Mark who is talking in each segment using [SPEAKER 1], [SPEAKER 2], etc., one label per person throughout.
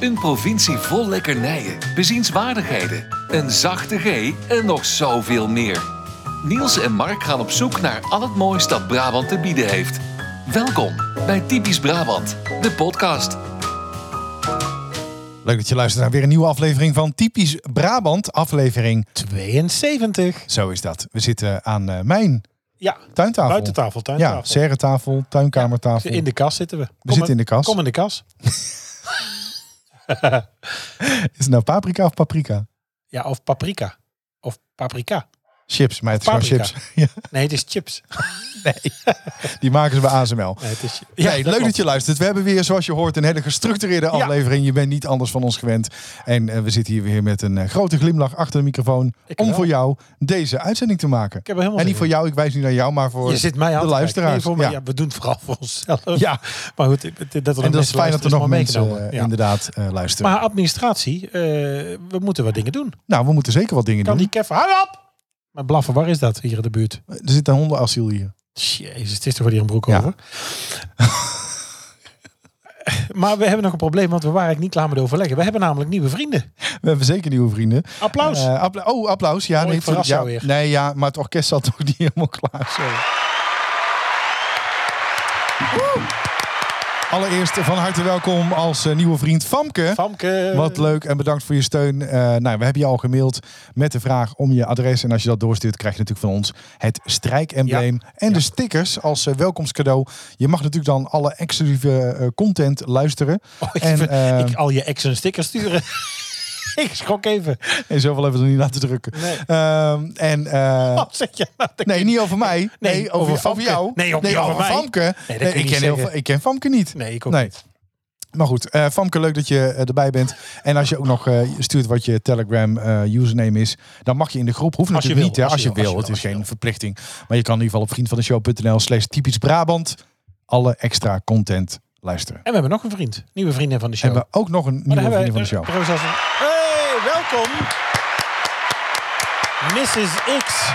[SPEAKER 1] Een provincie vol lekkernijen, bezienswaardigheden, een zachte G en nog zoveel meer. Niels en Mark gaan op zoek naar al het moois dat Brabant te bieden heeft. Welkom bij Typisch Brabant, de podcast.
[SPEAKER 2] Leuk dat je luistert naar weer een nieuwe aflevering van Typisch Brabant, aflevering.
[SPEAKER 3] 72.
[SPEAKER 2] Zo is dat. We zitten aan eh, mijn
[SPEAKER 3] Ja,
[SPEAKER 2] tuintafel.
[SPEAKER 3] buitentafel, tuintafel. Dus
[SPEAKER 2] Ja, serretafel, tuinkamertafel.
[SPEAKER 3] In de kas zitten we. Kom
[SPEAKER 2] zitten in de kas.
[SPEAKER 3] Kom in de kas.
[SPEAKER 2] Is het nou paprika of paprika?
[SPEAKER 3] Ja, of paprika. Of paprika.
[SPEAKER 2] Chips, maar het is gewoon
[SPEAKER 3] Paprika.
[SPEAKER 2] chips. Ja,
[SPEAKER 3] Nee, het is chips.
[SPEAKER 2] die maken ze bij ASML.
[SPEAKER 3] Nee, het is, ja,
[SPEAKER 2] Ja, leuk
[SPEAKER 3] klopt.
[SPEAKER 2] dat je luistert. We hebben weer, zoals je hoort, een hele gestructureerde aflevering. Je bent niet anders van ons gewend. En eh, we zitten hier weer met een eh, grote glimlach achter de microfoon.
[SPEAKER 3] Ik
[SPEAKER 2] om
[SPEAKER 3] wel.
[SPEAKER 2] voor jou deze uitzending te maken.
[SPEAKER 3] Ik heb er helemaal
[SPEAKER 2] En niet
[SPEAKER 3] zin
[SPEAKER 2] voor
[SPEAKER 3] in.
[SPEAKER 2] jou, ik wijs nu naar jou, maar voor
[SPEAKER 3] Je zit mij aan
[SPEAKER 2] de
[SPEAKER 3] te kijken. Nee,
[SPEAKER 2] luisteraars.
[SPEAKER 3] voor mij,
[SPEAKER 2] ja.
[SPEAKER 3] ja, we doen het vooral voor onszelf.
[SPEAKER 2] Ja.
[SPEAKER 3] Maar goed, ik- dat er
[SPEAKER 2] En
[SPEAKER 3] nog
[SPEAKER 2] dat is fijn
[SPEAKER 3] mensen
[SPEAKER 2] dat er
[SPEAKER 3] luisteren,
[SPEAKER 2] nog
[SPEAKER 3] maar
[SPEAKER 2] mensen
[SPEAKER 3] meegenomen.
[SPEAKER 2] eh,
[SPEAKER 3] Ja.
[SPEAKER 2] inderdaad eh, luisteren.
[SPEAKER 3] Maar administratie, eh, we moeten wat dingen doen.
[SPEAKER 2] Nou, we moeten zeker wat dingen
[SPEAKER 3] Kan
[SPEAKER 2] doen.
[SPEAKER 3] die Kev, hou op! Maar blaffen, waar is dat hier in de buurt?
[SPEAKER 2] Er zit een hondenasiel hier.
[SPEAKER 3] Jezus, het is toch weer hier een broek
[SPEAKER 2] Ja.
[SPEAKER 3] over. maar we hebben nog een probleem, want we waren eigenlijk niet klaar met overleggen. We hebben namelijk nieuwe vrienden.
[SPEAKER 2] We hebben zeker nieuwe vrienden.
[SPEAKER 3] Applaus.
[SPEAKER 2] Eh, appla- oh, applaus. Ja,
[SPEAKER 3] Oh,
[SPEAKER 2] nee,
[SPEAKER 3] ik verras
[SPEAKER 2] ja,
[SPEAKER 3] jou weer.
[SPEAKER 2] nee, ja, maar het orkest zat toch niet helemaal klaar. Sorry. Woe! Allereerst eh, van harte welkom als eh, nieuwe vriend Famke.
[SPEAKER 3] Famke.
[SPEAKER 2] Wat leuk en bedankt voor je steun. Eh, nou, we hebben je al gemaild met de vraag om je adres. En als je dat doorstuurt, krijg je natuurlijk van ons het strijkembleem. En de stickers als eh, welkomstcadeau. Je mag natuurlijk dan alle exclusieve eh, content luisteren.
[SPEAKER 3] Oh, ik,
[SPEAKER 2] en,
[SPEAKER 3] vind-
[SPEAKER 2] eh,
[SPEAKER 3] ik al je ex een sticker sturen. ik schrok even.
[SPEAKER 2] En zoveel hebben we er niet laten drukken.
[SPEAKER 3] Nee.
[SPEAKER 2] Ehm, en, eh,
[SPEAKER 3] Wat zeg je nou? Dat-
[SPEAKER 2] nee, niet over mij.
[SPEAKER 3] Nee,
[SPEAKER 2] Nee, over,
[SPEAKER 3] over Famke.
[SPEAKER 2] jou.
[SPEAKER 3] Nee, ook niet over mij.
[SPEAKER 2] Famke. Nee,
[SPEAKER 3] dat kun je
[SPEAKER 2] ik,
[SPEAKER 3] niet
[SPEAKER 2] ken heel,
[SPEAKER 3] zeggen.
[SPEAKER 2] Fa- ik ken Famke niet.
[SPEAKER 3] Nee, ik ook
[SPEAKER 2] Nee.
[SPEAKER 3] niet.
[SPEAKER 2] Maar goed, eh Famke, leuk dat je eh, erbij bent. En als je ook nog eh, stuurt wat je Telegram eh, username is, dan mag je in de groep. Hoeft
[SPEAKER 3] Als je
[SPEAKER 2] natuurlijk
[SPEAKER 3] wil,
[SPEAKER 2] niet, hè, als, je wil.
[SPEAKER 3] als
[SPEAKER 2] Het
[SPEAKER 3] je
[SPEAKER 2] is
[SPEAKER 3] wil.
[SPEAKER 2] geen verplichting. Maar je kan in ieder geval op vriendvandeshow.nl slash typisch Brabant alle extra content luisteren.
[SPEAKER 3] En we hebben nog een vriend. Nieuwe vriendin van de show.
[SPEAKER 2] En we ook nog een
[SPEAKER 3] Maar
[SPEAKER 2] nieuwe
[SPEAKER 3] dan
[SPEAKER 2] vriendin van de
[SPEAKER 3] Oh, hebben
[SPEAKER 2] show.
[SPEAKER 3] we- dan hebben we zelfs een- Hey, welkom. Mrs. X.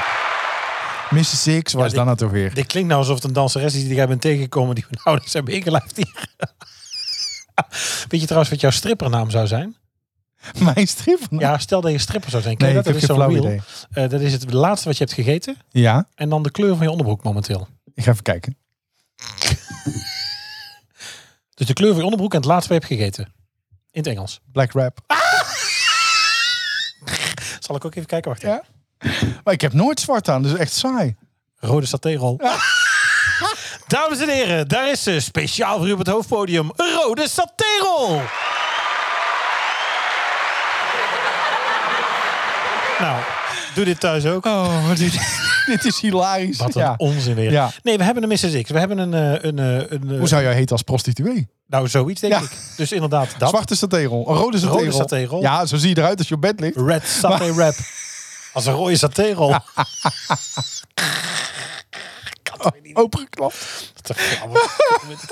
[SPEAKER 2] Mrs. Six, waar is
[SPEAKER 3] dit-
[SPEAKER 2] dan nou toch weer?
[SPEAKER 3] Dit klinkt nou alsof het een danseres is die jij bent tegengekomen. Die mijn ouders hebben ingelijfd hier. Weet je trouwens wat jouw strippernaam zou zijn?
[SPEAKER 2] Mijn strip?
[SPEAKER 3] Ja, stel dat je stripper zou zijn. Ken
[SPEAKER 2] nee,
[SPEAKER 3] je
[SPEAKER 2] ik
[SPEAKER 3] dat?
[SPEAKER 2] heb
[SPEAKER 3] dat
[SPEAKER 2] geen
[SPEAKER 3] is zo'n
[SPEAKER 2] flauw
[SPEAKER 3] wiel.
[SPEAKER 2] idee.
[SPEAKER 3] Eh, dat is het laatste wat je hebt gegeten.
[SPEAKER 2] Ja,
[SPEAKER 3] En dan de kleur van je onderbroek momenteel.
[SPEAKER 2] ik ga even kijken.
[SPEAKER 3] Dus de kleur van je onderbroek en het laatste wat je hebt gegeten. In het Engels.
[SPEAKER 2] Black Rap.
[SPEAKER 3] Zal ik ook even kijken? Wacht.
[SPEAKER 2] Ja. Maar ik heb nooit zwart aan, dus echt saai.
[SPEAKER 3] Rode satérol. Dames en heren, daar is ze. Speciaal voor u op het hoofdpodium. Rode satérol. nou, doe dit thuis ook.
[SPEAKER 2] Oh, wat dit, dit is hilarisch.
[SPEAKER 3] Wat een
[SPEAKER 2] Ja.
[SPEAKER 3] onzin weer.
[SPEAKER 2] Ja.
[SPEAKER 3] Nee, we hebben een Mrs. X. We hebben een... eh, een, eh, een eh,
[SPEAKER 2] Hoe zou jij heten als prostituee?
[SPEAKER 3] Nou, zoiets denk
[SPEAKER 2] Ja.
[SPEAKER 3] ik. Dus inderdaad, dat.
[SPEAKER 2] Zwarte satéerol. Een rode satéerol.
[SPEAKER 3] satéerol.
[SPEAKER 2] Ja, zo zie je eruit als je op bed ligt.
[SPEAKER 3] Red saté wrap. Als een rode satérol.
[SPEAKER 2] Opengeklapt.
[SPEAKER 3] Te grappig.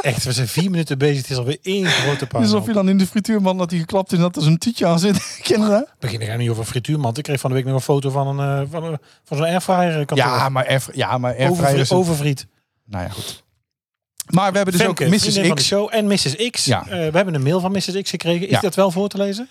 [SPEAKER 3] Echt, we zijn vier minuten bezig. Het is alweer één grote
[SPEAKER 2] Alsof je
[SPEAKER 3] puinhoop.
[SPEAKER 2] dan in de frituurman dat hij geklapt is en dat er zo'n tietje aan zit. Ken je dat?
[SPEAKER 3] We beginnen gaan niet over frituurmand. Ik kreeg van de week nog een foto van, een, eh, van, een, van zo'n airfryer eh, kantoor.
[SPEAKER 2] Ja, maar air, ja, maar airfryer is
[SPEAKER 3] Overvri-
[SPEAKER 2] een-
[SPEAKER 3] overvriet.
[SPEAKER 2] Nou ja, goed. Maar we hebben dus
[SPEAKER 3] Femke,
[SPEAKER 2] ook
[SPEAKER 3] vriendin
[SPEAKER 2] Mrs.
[SPEAKER 3] van de
[SPEAKER 2] X.
[SPEAKER 3] show en Mrs. X.
[SPEAKER 2] Ja.
[SPEAKER 3] Eh, we hebben een mail van Mrs. X gekregen. Is
[SPEAKER 2] Ja.
[SPEAKER 3] dat wel voor te lezen?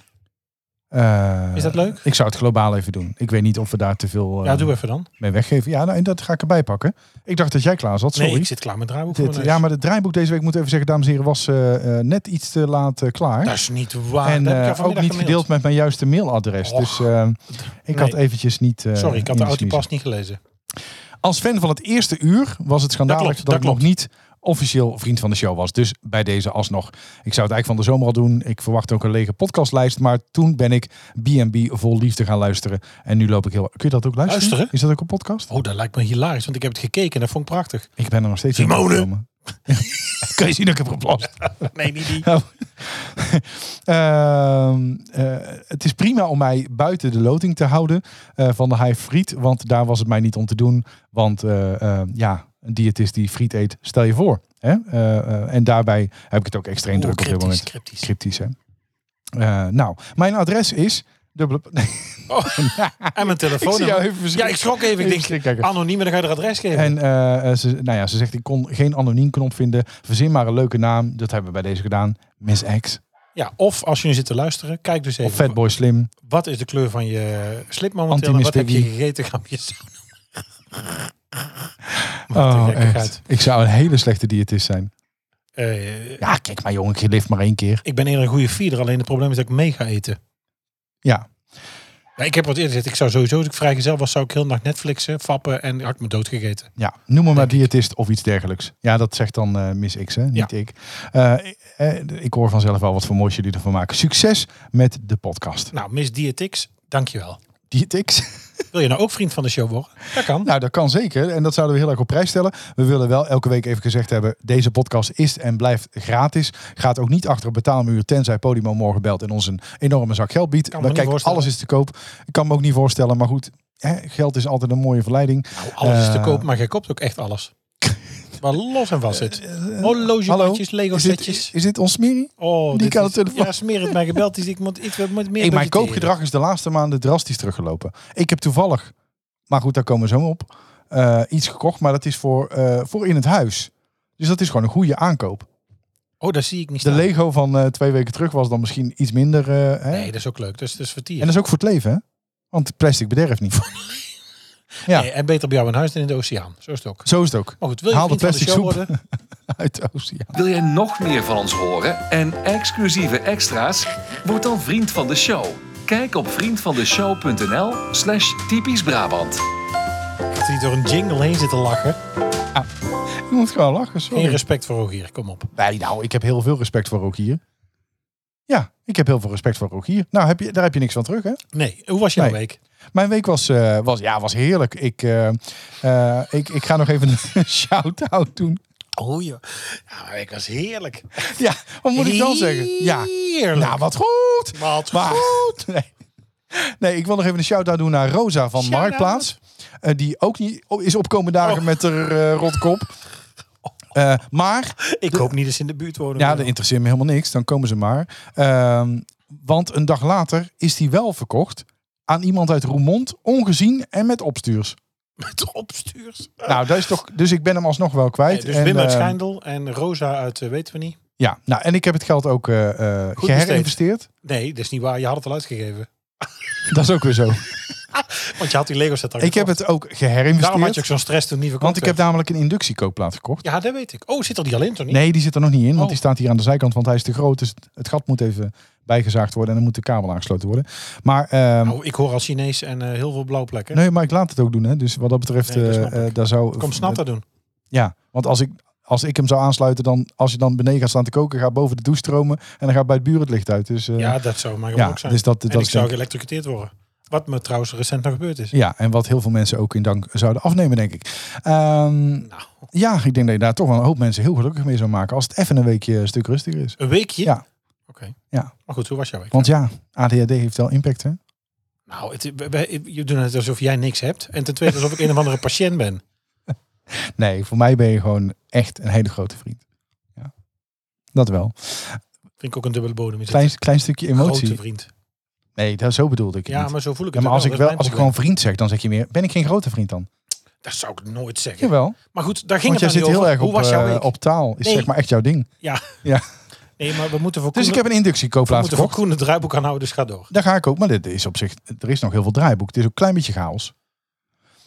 [SPEAKER 2] Eh,
[SPEAKER 3] Is dat leuk?
[SPEAKER 2] Ik zou het globaal even doen. Ik weet niet of we daar te veel eh,
[SPEAKER 3] ja, doe even dan.
[SPEAKER 2] mee weggeven. Ja, nou, en dat ga ik erbij pakken. Ik dacht dat jij klaar zat. Sorry.
[SPEAKER 3] Nee, ik zit klaar met draaiboek. voor
[SPEAKER 2] Dit-
[SPEAKER 3] mijn neus.
[SPEAKER 2] ja, maar het draaiboek deze week, moet ik even zeggen, dames en heren, was eh, eh, net iets te laat eh, klaar.
[SPEAKER 3] Dat is niet waar.
[SPEAKER 2] En
[SPEAKER 3] Dat Nou, heb ik jou
[SPEAKER 2] eh, ook niet
[SPEAKER 3] vanmiddag gemaild.
[SPEAKER 2] gedeeld met mijn juiste mailadres.
[SPEAKER 3] Och.
[SPEAKER 2] Dus eh, ik had
[SPEAKER 3] Nee.
[SPEAKER 2] eventjes niet. eh,
[SPEAKER 3] Sorry, ik had de
[SPEAKER 2] in
[SPEAKER 3] auto
[SPEAKER 2] smiezen.
[SPEAKER 3] pas niet gelezen.
[SPEAKER 2] Als fan van het eerste uur was het schandalig dat,
[SPEAKER 3] klopt, dat
[SPEAKER 2] ik nog niet officieel vriend van de show was. Dus bij deze alsnog. Ik zou het eigenlijk van de zomer al doen. Ik verwacht ook een lege podcastlijst. Maar toen ben ik B&B vol liefde gaan luisteren. En nu loop ik heel... Kun je dat ook luisteren?
[SPEAKER 3] Luisteren?
[SPEAKER 2] Is dat ook een podcast?
[SPEAKER 3] Oh, dat lijkt me hilarisch, want ik heb het gekeken en dat vond ik prachtig.
[SPEAKER 2] Ik ben er nog steeds
[SPEAKER 3] Simone!
[SPEAKER 2] in gekomen. Kun je zien dat ik heb geplast?
[SPEAKER 3] Nee, niet die.
[SPEAKER 2] Nou, ehm, eh, het is prima om mij buiten de loting te houden eh, van de high friet. Want daar was het mij niet om te doen. Want eh, eh, ja, een diëtist die friet eet, stel je voor. Hè? Eh, eh, en daarbij heb ik het ook extreem
[SPEAKER 3] Oeh,
[SPEAKER 2] druk op dit
[SPEAKER 3] cryptisch,
[SPEAKER 2] moment.
[SPEAKER 3] cryptisch.
[SPEAKER 2] Cryptisch, hè? Eh, nou, mijn adres is... Dubbele... Nee,
[SPEAKER 3] En mijn telefoon.
[SPEAKER 2] ik zie jou even
[SPEAKER 3] ja, ik schrok even. Ik denk, Ah.
[SPEAKER 2] schrik kijken.
[SPEAKER 3] anoniem en dan ga je er adres geven.
[SPEAKER 2] En eh, eh, ze, nou ja, ze zegt, ik kon geen anoniem knop vinden. Verzin maar een leuke naam. Dat hebben we bij deze gedaan. Miss X.
[SPEAKER 3] Ja, of als je nu zit te luisteren, kijk dus even.
[SPEAKER 2] Of Fatboy Slim.
[SPEAKER 3] Wat is de kleur van je slip momenteel? En wat heb je
[SPEAKER 2] Anti-Miss
[SPEAKER 3] gegeten? Grapje.
[SPEAKER 2] Oh,
[SPEAKER 3] gekkigheid.
[SPEAKER 2] echt. Ik zou een hele slechte diëtist zijn.
[SPEAKER 3] Eh,
[SPEAKER 2] Ja, kijk maar jongen, je leeft maar één keer.
[SPEAKER 3] ik ben eerder een goede vierder, alleen het probleem is dat ik mee ga eten.
[SPEAKER 2] Ja.
[SPEAKER 3] Ja, ik heb wat eerder gezegd, ik zou sowieso, als ik vrijgezel was, zou ik heel nacht Netflixen, fappen en had ik me doodgegeten.
[SPEAKER 2] Ja, noem me maar diëtist of iets dergelijks. Ja, dat zegt dan eh Miss X, hè? niet ik. Eh, eh, ik hoor vanzelf wel wat voor moois jullie ervan maken. Succes met de podcast.
[SPEAKER 3] Nou, Miss Dietix, dankjewel.
[SPEAKER 2] Diëtix?
[SPEAKER 3] Wil je nou ook vriend van de show worden? Dat kan.
[SPEAKER 2] Nou, dat kan zeker. En dat zouden we heel erg op prijs stellen. We willen wel elke week even gezegd hebben... deze podcast is en blijft gratis. Gaat ook niet achter een betaalmuur... tenzij Podimo morgen belt en ons een enorme zak geld biedt.
[SPEAKER 3] Kan me
[SPEAKER 2] maar
[SPEAKER 3] niet
[SPEAKER 2] kijk,
[SPEAKER 3] voorstellen.
[SPEAKER 2] alles is te koop. Ik kan me ook niet voorstellen, maar goed... Hè, geld is altijd een mooie verleiding.
[SPEAKER 3] Nou, alles is te
[SPEAKER 2] Eh,
[SPEAKER 3] koop, maar jij koopt ook echt alles. Waar los en vast zit. Horlogematjes, Lego
[SPEAKER 2] Eh, is dit,
[SPEAKER 3] setjes.
[SPEAKER 2] is dit ons smerie?
[SPEAKER 3] Oh,
[SPEAKER 2] die
[SPEAKER 3] dit
[SPEAKER 2] kan
[SPEAKER 3] is-
[SPEAKER 2] de telefoon.
[SPEAKER 3] Ja, smeer het mij gebeld. is ik moet iets wat moet meer
[SPEAKER 2] Hey, mijn
[SPEAKER 3] budgetteren.
[SPEAKER 2] koopgedrag is de laatste maanden drastisch teruggelopen. Ik heb toevallig, maar goed, daar komen we zo op, eh, iets gekocht. Maar dat is voor, eh, voor in het huis. Dus dat is gewoon een goede aankoop.
[SPEAKER 3] Oh, dat zie ik niet
[SPEAKER 2] De
[SPEAKER 3] staan.
[SPEAKER 2] Lego van eh, twee weken terug was dan misschien iets minder. eh, hè?
[SPEAKER 3] Nee, dat is ook leuk. Dus dat is vertier.
[SPEAKER 2] En dat is ook voor het leven, hè? Want plastic bederft niet. ja.
[SPEAKER 3] Nee, en beter bij jou in huis dan in de oceaan. Zo is het ook.
[SPEAKER 2] Zo is het ook.
[SPEAKER 3] Maar goed, Oh, wil je
[SPEAKER 2] Haal de
[SPEAKER 3] vriend van de
[SPEAKER 2] plastic
[SPEAKER 3] show
[SPEAKER 2] soep.
[SPEAKER 3] worden?
[SPEAKER 2] Uit de oceaan.
[SPEAKER 1] Wil jij nog meer van ons horen en exclusieve extra's? Word dan vriend van de show. Kijk op vriendvandeshow.nl slash typisch Brabant.
[SPEAKER 3] Dat hij door een jingle heen zit te lachen.
[SPEAKER 2] Je moet gewoon lachen,
[SPEAKER 3] Geen
[SPEAKER 2] sorry.
[SPEAKER 3] respect voor Rogier, kom op.
[SPEAKER 2] Nee, nou, ik heb heel veel respect voor Rogier. Ja, ik heb heel veel respect voor Rogier. Nou, heb je, daar heb je niks van terug, hè?
[SPEAKER 3] Nee, hoe was jouw
[SPEAKER 2] Nee.
[SPEAKER 3] week?
[SPEAKER 2] Mijn week was, eh, was, ja, was heerlijk. Ik, eh, eh, ik, ik ga nog even een shout-out doen.
[SPEAKER 3] Oh ja, ja mijn week was heerlijk.
[SPEAKER 2] Ja, wat moet ik dan zeggen? Ja,
[SPEAKER 3] Heerlijk.
[SPEAKER 2] nou wat goed.
[SPEAKER 3] Wat
[SPEAKER 2] Maar-
[SPEAKER 3] goed.
[SPEAKER 2] Nee. nee, ik wil nog even een shout-out doen naar Rosa van
[SPEAKER 3] Shout-out.
[SPEAKER 2] Marktplaats. eh, die ook niet oh, is opkomen dagen
[SPEAKER 3] Oh.
[SPEAKER 2] met haar eh, rotkop. Eh, maar,
[SPEAKER 3] Ik hoop niet dat ze in de buurt wonen.
[SPEAKER 2] ja, dat interesseert me helemaal niks. Dan komen ze maar. Ehm, want een dag later is die wel verkocht aan iemand uit Roermond. Ongezien en met opstuurs.
[SPEAKER 3] met opstuurs.
[SPEAKER 2] Nou, dat is toch, dus ik ben hem alsnog wel kwijt.
[SPEAKER 3] Nee, dus
[SPEAKER 2] En,
[SPEAKER 3] Wim uit
[SPEAKER 2] eh,
[SPEAKER 3] Schijndel en Rosa uit eh, weten we niet.
[SPEAKER 2] Ja, nou, en ik heb het geld ook eh, eh,
[SPEAKER 3] Goed
[SPEAKER 2] geherinvesteerd.
[SPEAKER 3] Nee, dat is niet waar. Je had het al uitgegeven.
[SPEAKER 2] Dat is ook weer zo.
[SPEAKER 3] Want je had die Lego set al
[SPEAKER 2] ik heb
[SPEAKER 3] gekocht.
[SPEAKER 2] het ook
[SPEAKER 3] Daarom had
[SPEAKER 2] geherinvesteerd.
[SPEAKER 3] je ook zo'n stress toen het niet verkocht
[SPEAKER 2] want ik heb
[SPEAKER 3] werd.
[SPEAKER 2] namelijk een inductiekoopplaat gekocht.
[SPEAKER 3] Ja, dat weet ik. Oh, zit er die al in, toch niet?
[SPEAKER 2] Nee, die zit er nog niet in, want
[SPEAKER 3] Oh.
[SPEAKER 2] die staat hier aan de zijkant, want hij is te groot. Dus het gat moet even bijgezaagd worden en dan moet de kabel aangesloten worden. Maar, ehm,
[SPEAKER 3] Nou, ik hoor al Chinees en eh, heel veel blauwplekken.
[SPEAKER 2] nee, maar ik laat het ook doen. Hè. Dus wat dat betreft,
[SPEAKER 3] Nee, dat
[SPEAKER 2] eh,
[SPEAKER 3] snap ik.
[SPEAKER 2] eh, daar zou... eh,
[SPEAKER 3] Kom snap dat doen.
[SPEAKER 2] Ja, want als ik, als ik hem zou aansluiten, dan als je dan beneden gaat staan te koken, gaat boven de douche stromen en dan gaat bij het buur het licht uit. Dus, eh,
[SPEAKER 3] Ja, dat zou maar
[SPEAKER 2] ja,
[SPEAKER 3] ook zijn.
[SPEAKER 2] dus dat,
[SPEAKER 3] en
[SPEAKER 2] dat
[SPEAKER 3] ik
[SPEAKER 2] is
[SPEAKER 3] zou
[SPEAKER 2] denk
[SPEAKER 3] geëlektrocuteerd worden. Wat me trouwens recent nog gebeurd is.
[SPEAKER 2] Ja, en wat heel veel mensen ook in dank zouden afnemen, denk ik. Ehm,
[SPEAKER 3] Nou.
[SPEAKER 2] Ja, ik denk dat je daar toch wel een hoop mensen heel gelukkig mee zou maken. Als het even een weekje een stuk rustiger is.
[SPEAKER 3] Een weekje?
[SPEAKER 2] Ja.
[SPEAKER 3] Oké.
[SPEAKER 2] Ja.
[SPEAKER 3] Maar goed, hoe was jouw week?
[SPEAKER 2] Want ja, ADHD heeft wel impact, hè?
[SPEAKER 3] Nou, het, we- we- je doet het alsof jij niks hebt. En ten tweede alsof ik een of andere patiënt ben.
[SPEAKER 2] Nee, voor mij ben je gewoon echt een hele grote vriend. Ja. Dat wel.
[SPEAKER 3] Vind ik ook een dubbele bodem. Is het
[SPEAKER 2] Klein, klein stukje
[SPEAKER 3] een
[SPEAKER 2] emotie.
[SPEAKER 3] grote vriend.
[SPEAKER 2] Nee, dat, zo bedoelde ik het
[SPEAKER 3] Ja,
[SPEAKER 2] niet.
[SPEAKER 3] maar zo voel ik
[SPEAKER 2] Ja,
[SPEAKER 3] het
[SPEAKER 2] maar
[SPEAKER 3] ook
[SPEAKER 2] als ik,
[SPEAKER 3] dat
[SPEAKER 2] wel,
[SPEAKER 3] is
[SPEAKER 2] als ik
[SPEAKER 3] mijn probleem.
[SPEAKER 2] gewoon vriend zeg, dan zeg je meer... Ben ik geen grote vriend dan?
[SPEAKER 3] Dat zou ik nooit zeggen.
[SPEAKER 2] Jawel.
[SPEAKER 3] Maar goed, daar ging
[SPEAKER 2] Want jij
[SPEAKER 3] het
[SPEAKER 2] zit
[SPEAKER 3] dan niet
[SPEAKER 2] heel
[SPEAKER 3] over.
[SPEAKER 2] erg
[SPEAKER 3] Hoe
[SPEAKER 2] op,
[SPEAKER 3] was jouw
[SPEAKER 2] eh,
[SPEAKER 3] week?
[SPEAKER 2] op taal. Is
[SPEAKER 3] Nee.
[SPEAKER 2] zeg maar echt jouw ding.
[SPEAKER 3] Ja.
[SPEAKER 2] Ja.
[SPEAKER 3] Nee, maar we moeten voor
[SPEAKER 2] Dus
[SPEAKER 3] Koen-
[SPEAKER 2] ik heb een
[SPEAKER 3] we
[SPEAKER 2] inductiekoopplaats
[SPEAKER 3] moeten voor
[SPEAKER 2] gekocht.
[SPEAKER 3] Koen het draaiboek aan houden, dus ga door.
[SPEAKER 2] Daar ga ik ook. Maar dit is op zich, er is nog heel veel draaiboek. Het is ook een klein beetje chaos.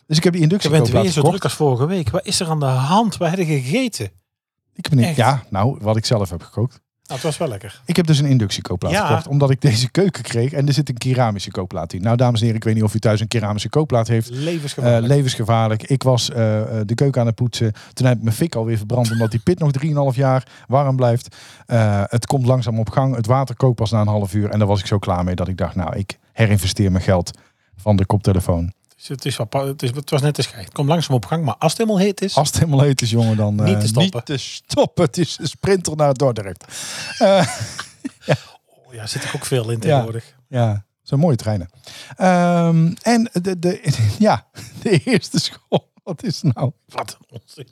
[SPEAKER 2] Dus ik heb die
[SPEAKER 3] Je bent weer
[SPEAKER 2] inductiekoopplaat
[SPEAKER 3] zo
[SPEAKER 2] gekocht.
[SPEAKER 3] druk als vorige week. Wat is er aan de hand? Wat heb je gegeten? Nou,
[SPEAKER 2] Ik heb niet,
[SPEAKER 3] Echt?
[SPEAKER 2] ja, nou, wat ik zelf heb gekookt.
[SPEAKER 3] Nou, het was wel lekker.
[SPEAKER 2] Ik heb dus een inductiekoopplaat
[SPEAKER 3] Ja.
[SPEAKER 2] gekocht, omdat ik deze keuken kreeg. En er zit een keramische koopplaat in. Nou, dames en heren, ik weet niet of u thuis een keramische koopplaat heeft. Eh,
[SPEAKER 3] Levensgevaarlijk.
[SPEAKER 2] levensgevaarlijk. Ik was eh, eh, de keuken aan het poetsen. Toen heb ik mijn fik alweer verbrand, omdat die pit nog 3,5 jaar warm blijft. Eh, het komt langzaam op gang. Het water kookt pas na een half uur. En daar was ik zo klaar mee dat ik dacht, nou, ik herinvesteer mijn geld van de koptelefoon.
[SPEAKER 3] Dus het, is wel, pa- het, is, het was net een scheid. Kom langzaam op gang, maar als het helemaal heet is...
[SPEAKER 2] Als het helemaal heet is, jongen, dan eh,
[SPEAKER 3] Niet te stoppen.
[SPEAKER 2] niet te stoppen. Het is een sprinter naar Dordrecht.
[SPEAKER 3] Oh, ja, zit er ook veel in tegenwoordig.
[SPEAKER 2] Ja, zo'n mooie treinen. Ehm, en de, de, ja, de eerste school. Wat is het nou?
[SPEAKER 3] Wat een onzin.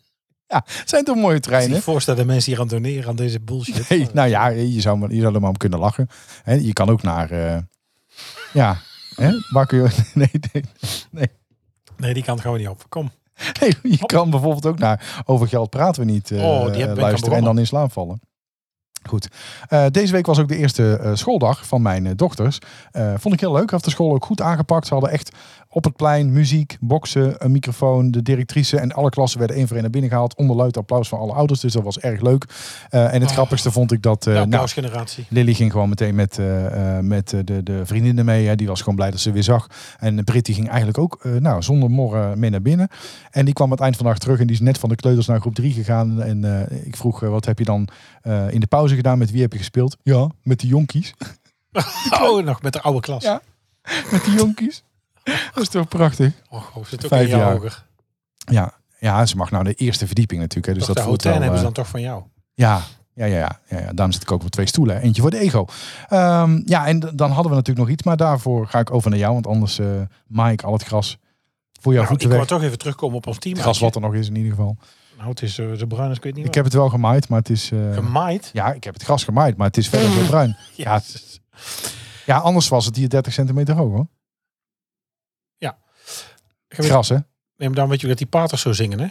[SPEAKER 2] Ja, het zijn toch mooie
[SPEAKER 3] Ik
[SPEAKER 2] treinen?
[SPEAKER 3] niet voorstellen dat mensen hier aan doneren aan deze bullshit. Eh,
[SPEAKER 2] Hey, nou ja, je zou, maar- je zou er maar om kunnen lachen. Hè, je kan ook naar... eh, ja, hè? waar kun je... Nee, nee,
[SPEAKER 3] Nee, die kant gaan we niet op. Kom.
[SPEAKER 2] nee, je kan bijvoorbeeld ook naar... Over geld praten we niet eh,
[SPEAKER 3] Oh, die heb- ben ik aan
[SPEAKER 2] luisteren en
[SPEAKER 3] begonnen.
[SPEAKER 2] dan in slaap vallen. Goed. Eh, deze week was ook de eerste eh, schooldag van mijn eh, dochters. Eh, vond ik heel leuk. Heeft de school ook goed aangepakt. Ze hadden echt op het plein muziek, boksen, een microfoon, de directrice en alle klassen werden één voor één naar binnen gehaald. Onder luid applaus van alle ouders. Dus dat was erg leuk. Eh, en het
[SPEAKER 3] Oh.
[SPEAKER 2] grappigste vond ik dat. eh,
[SPEAKER 3] de
[SPEAKER 2] nou,
[SPEAKER 3] applausgeneratie.
[SPEAKER 2] Lily ging gewoon meteen met, eh, eh, met eh, de, de vriendinnen mee. Hè. Die was gewoon blij dat ze weer zag. En Britt die ging eigenlijk ook eh, nou, zonder morren mee naar binnen. En die kwam aan het eind van de dag terug. En die is net van de kleuters naar groep 3 gegaan. En eh, ik vroeg, eh, wat heb je dan eh, in de pauze gedaan? Met wie heb je gespeeld? Ja, met de jonkies.
[SPEAKER 3] Oh, nog met de oude klas.
[SPEAKER 2] Ja. met de jonkies. Dat is toch prachtig?
[SPEAKER 3] Och, oh, zit ook
[SPEAKER 2] Vijf
[SPEAKER 3] een jaar
[SPEAKER 2] jaar.
[SPEAKER 3] hoger.
[SPEAKER 2] Ja, ja, ze mag naar de eerste verdieping natuurlijk. Hè, dus
[SPEAKER 3] Toch, de
[SPEAKER 2] dat voelt
[SPEAKER 3] hotel
[SPEAKER 2] wel...
[SPEAKER 3] hebben
[SPEAKER 2] eh,
[SPEAKER 3] ze dan toch van jou.
[SPEAKER 2] Ja, ja, ja, ja, ja, ja. Daarom zit ik ook op twee stoelen. hè. Eentje voor de ego. Ehm, ja, en d- dan hadden we natuurlijk nog iets. Maar daarvoor ga ik over naar jou. Want anders, eh Mike, al het gras voor jou
[SPEAKER 3] Nou,
[SPEAKER 2] goed
[SPEAKER 3] ik
[SPEAKER 2] te
[SPEAKER 3] wou
[SPEAKER 2] weg.
[SPEAKER 3] toch even terugkomen op ons team.
[SPEAKER 2] Het gras wat er nog is in ieder geval.
[SPEAKER 3] Nou, het is eh, zo bruin als ik weet niet
[SPEAKER 2] Ik heb het wel gemaaid, maar het is... eh,
[SPEAKER 3] wat. Gemaaid?
[SPEAKER 2] ja, ik heb het gras gemaaid, maar het is verder heel bruin. Ja,
[SPEAKER 3] Ja.
[SPEAKER 2] Ja, anders was het hier 30 centimeter hoog hoor. Het gras hè?
[SPEAKER 3] Neem dan weet je dat die paters zo zingen, hè?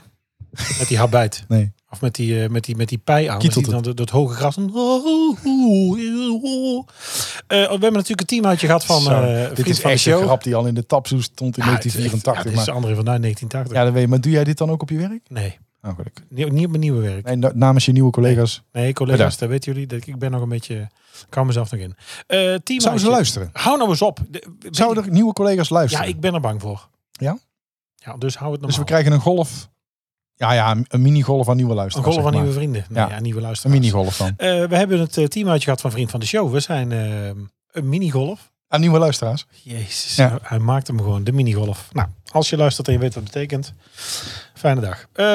[SPEAKER 3] Met die habijt.
[SPEAKER 2] Nee.
[SPEAKER 3] Of met die, eh, met die, met die pij aan.
[SPEAKER 2] Kietelt
[SPEAKER 3] Met die, dan dat, dat hoge gras. Oh, Dan- Eh, we hebben natuurlijk een teamuitje gehad van
[SPEAKER 2] Zo,
[SPEAKER 3] eh
[SPEAKER 2] dit
[SPEAKER 3] vriend
[SPEAKER 2] is
[SPEAKER 3] van de
[SPEAKER 2] echt
[SPEAKER 3] show.
[SPEAKER 2] een grap die al in de tapsoes stond in
[SPEAKER 3] Ja, het is echt-
[SPEAKER 2] 1984.
[SPEAKER 3] Ja, dit is
[SPEAKER 2] maar,
[SPEAKER 3] André van Duin, 1980.
[SPEAKER 2] ja, dat weet je. Maar doe jij dit dan ook op je werk?
[SPEAKER 3] Nee,
[SPEAKER 2] Oh, gelukkig.
[SPEAKER 3] niet, niet op mijn nieuwe werk.
[SPEAKER 2] Nee, na- namens je nieuwe collega's.
[SPEAKER 3] Nee, collega's,
[SPEAKER 2] Bedankt.
[SPEAKER 3] dat weten jullie. Dat ik ben nog een beetje... ik hou mezelf nog in. Eh teamuitje.
[SPEAKER 2] Zouden ze luisteren?
[SPEAKER 3] Hou nou eens op. De-
[SPEAKER 2] Zouden er nieuwe collega's
[SPEAKER 3] Ja,
[SPEAKER 2] luisteren?
[SPEAKER 3] ik ben er bang voor.
[SPEAKER 2] Ja?
[SPEAKER 3] Ja, dus hou het normaal.
[SPEAKER 2] Dus we krijgen een golf. Ja, ja, een- een mini-golf aan nieuwe
[SPEAKER 3] een
[SPEAKER 2] luisteraars.
[SPEAKER 3] golf van
[SPEAKER 2] zeg
[SPEAKER 3] nieuwe
[SPEAKER 2] maar.
[SPEAKER 3] vrienden. Nee, ja.
[SPEAKER 2] Ja.
[SPEAKER 3] nieuwe
[SPEAKER 2] Een
[SPEAKER 3] luisteraars.
[SPEAKER 2] mini-golf dan.
[SPEAKER 3] Eh, we hebben het eh, teamuitje gehad van Vriend van de Show. We zijn eh, een minigolf.
[SPEAKER 2] Aan nieuwe luisteraars.
[SPEAKER 3] Jezus,
[SPEAKER 2] Ja.
[SPEAKER 3] hij, hij maakt hem gewoon, de minigolf. Nou, als je luistert en je weet wat het betekent. Fijne dag. Eh,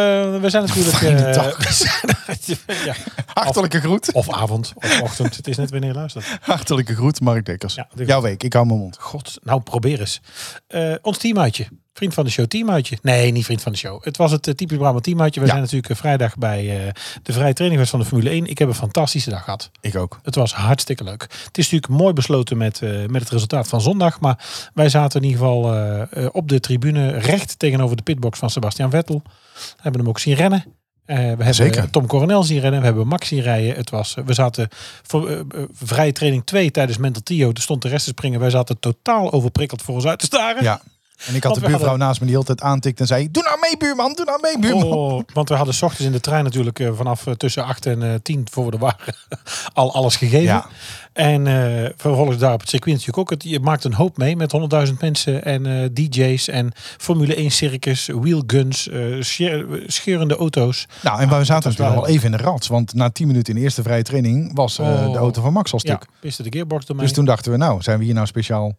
[SPEAKER 3] we zijn natuurlijk...
[SPEAKER 2] Fijne
[SPEAKER 3] eh,
[SPEAKER 2] dag.
[SPEAKER 3] we zijn- ja,
[SPEAKER 2] Hartelijke groet.
[SPEAKER 3] of avond, of ochtend. het is net wanneer je luistert.
[SPEAKER 2] Hartelijke groet, Mark Dekkers.
[SPEAKER 3] Ja, dit-
[SPEAKER 2] Jouw week, ik hou mijn mond.
[SPEAKER 3] God, nou probeer eens. Eh, ons teamuitje. Vriend van de show, teamuitje. Nee, niet vriend van de show. Het was het eh, typisch Brabant teamuitje. We
[SPEAKER 2] Ja.
[SPEAKER 3] zijn natuurlijk eh, vrijdag bij eh, de vrije trainingwedstrijd van de Formule 1. Ik heb een fantastische dag gehad.
[SPEAKER 2] Ik ook.
[SPEAKER 3] Het was hartstikke leuk. Het is natuurlijk mooi besloten met, eh, met het resultaat van zondag. Maar wij zaten in ieder geval eh, eh, op de tribune recht tegenover de pitbox van Sebastian Vettel. We hebben hem ook zien rennen. Eh, we hebben
[SPEAKER 2] Zeker.
[SPEAKER 3] Tom Coronel zien rennen. We hebben Max zien rijden. Het was, eh, we zaten voor, eh, eh, vrije training 2 tijdens Mental Tio. Er stond de rest te springen. Wij zaten totaal overprikkeld voor ons uit te staren.
[SPEAKER 2] Ja. En ik had
[SPEAKER 3] Want
[SPEAKER 2] de
[SPEAKER 3] we
[SPEAKER 2] buurvrouw
[SPEAKER 3] hadden-
[SPEAKER 2] naast me die altijd aantikt en zei... Doe nou mee, buurman. Doe nou mee, buurman.
[SPEAKER 3] Oh, want we hadden 's ochtends in de trein natuurlijk eh, vanaf eh, tussen 8 en eh, 10 voor we er waren al alles gegeven.
[SPEAKER 2] Ja.
[SPEAKER 3] En eh, vervolgens daar op het circuit natuurlijk ook. Het, je maakt een hoop mee met 100.000 mensen en eh, DJ's en Formule 1 circus, wheelguns, eh sche- scheurende auto's.
[SPEAKER 2] Nou, en we zaten
[SPEAKER 3] was
[SPEAKER 2] natuurlijk
[SPEAKER 3] wel-
[SPEAKER 2] al even in de rats. Want na 10 minuten in de eerste vrije training was eh,
[SPEAKER 3] Oh.
[SPEAKER 2] de auto van Max al
[SPEAKER 3] Ja,
[SPEAKER 2] stuk.
[SPEAKER 3] piste de gearbox door mij.
[SPEAKER 2] Dus toen dachten we, nou, zijn we hier nou speciaal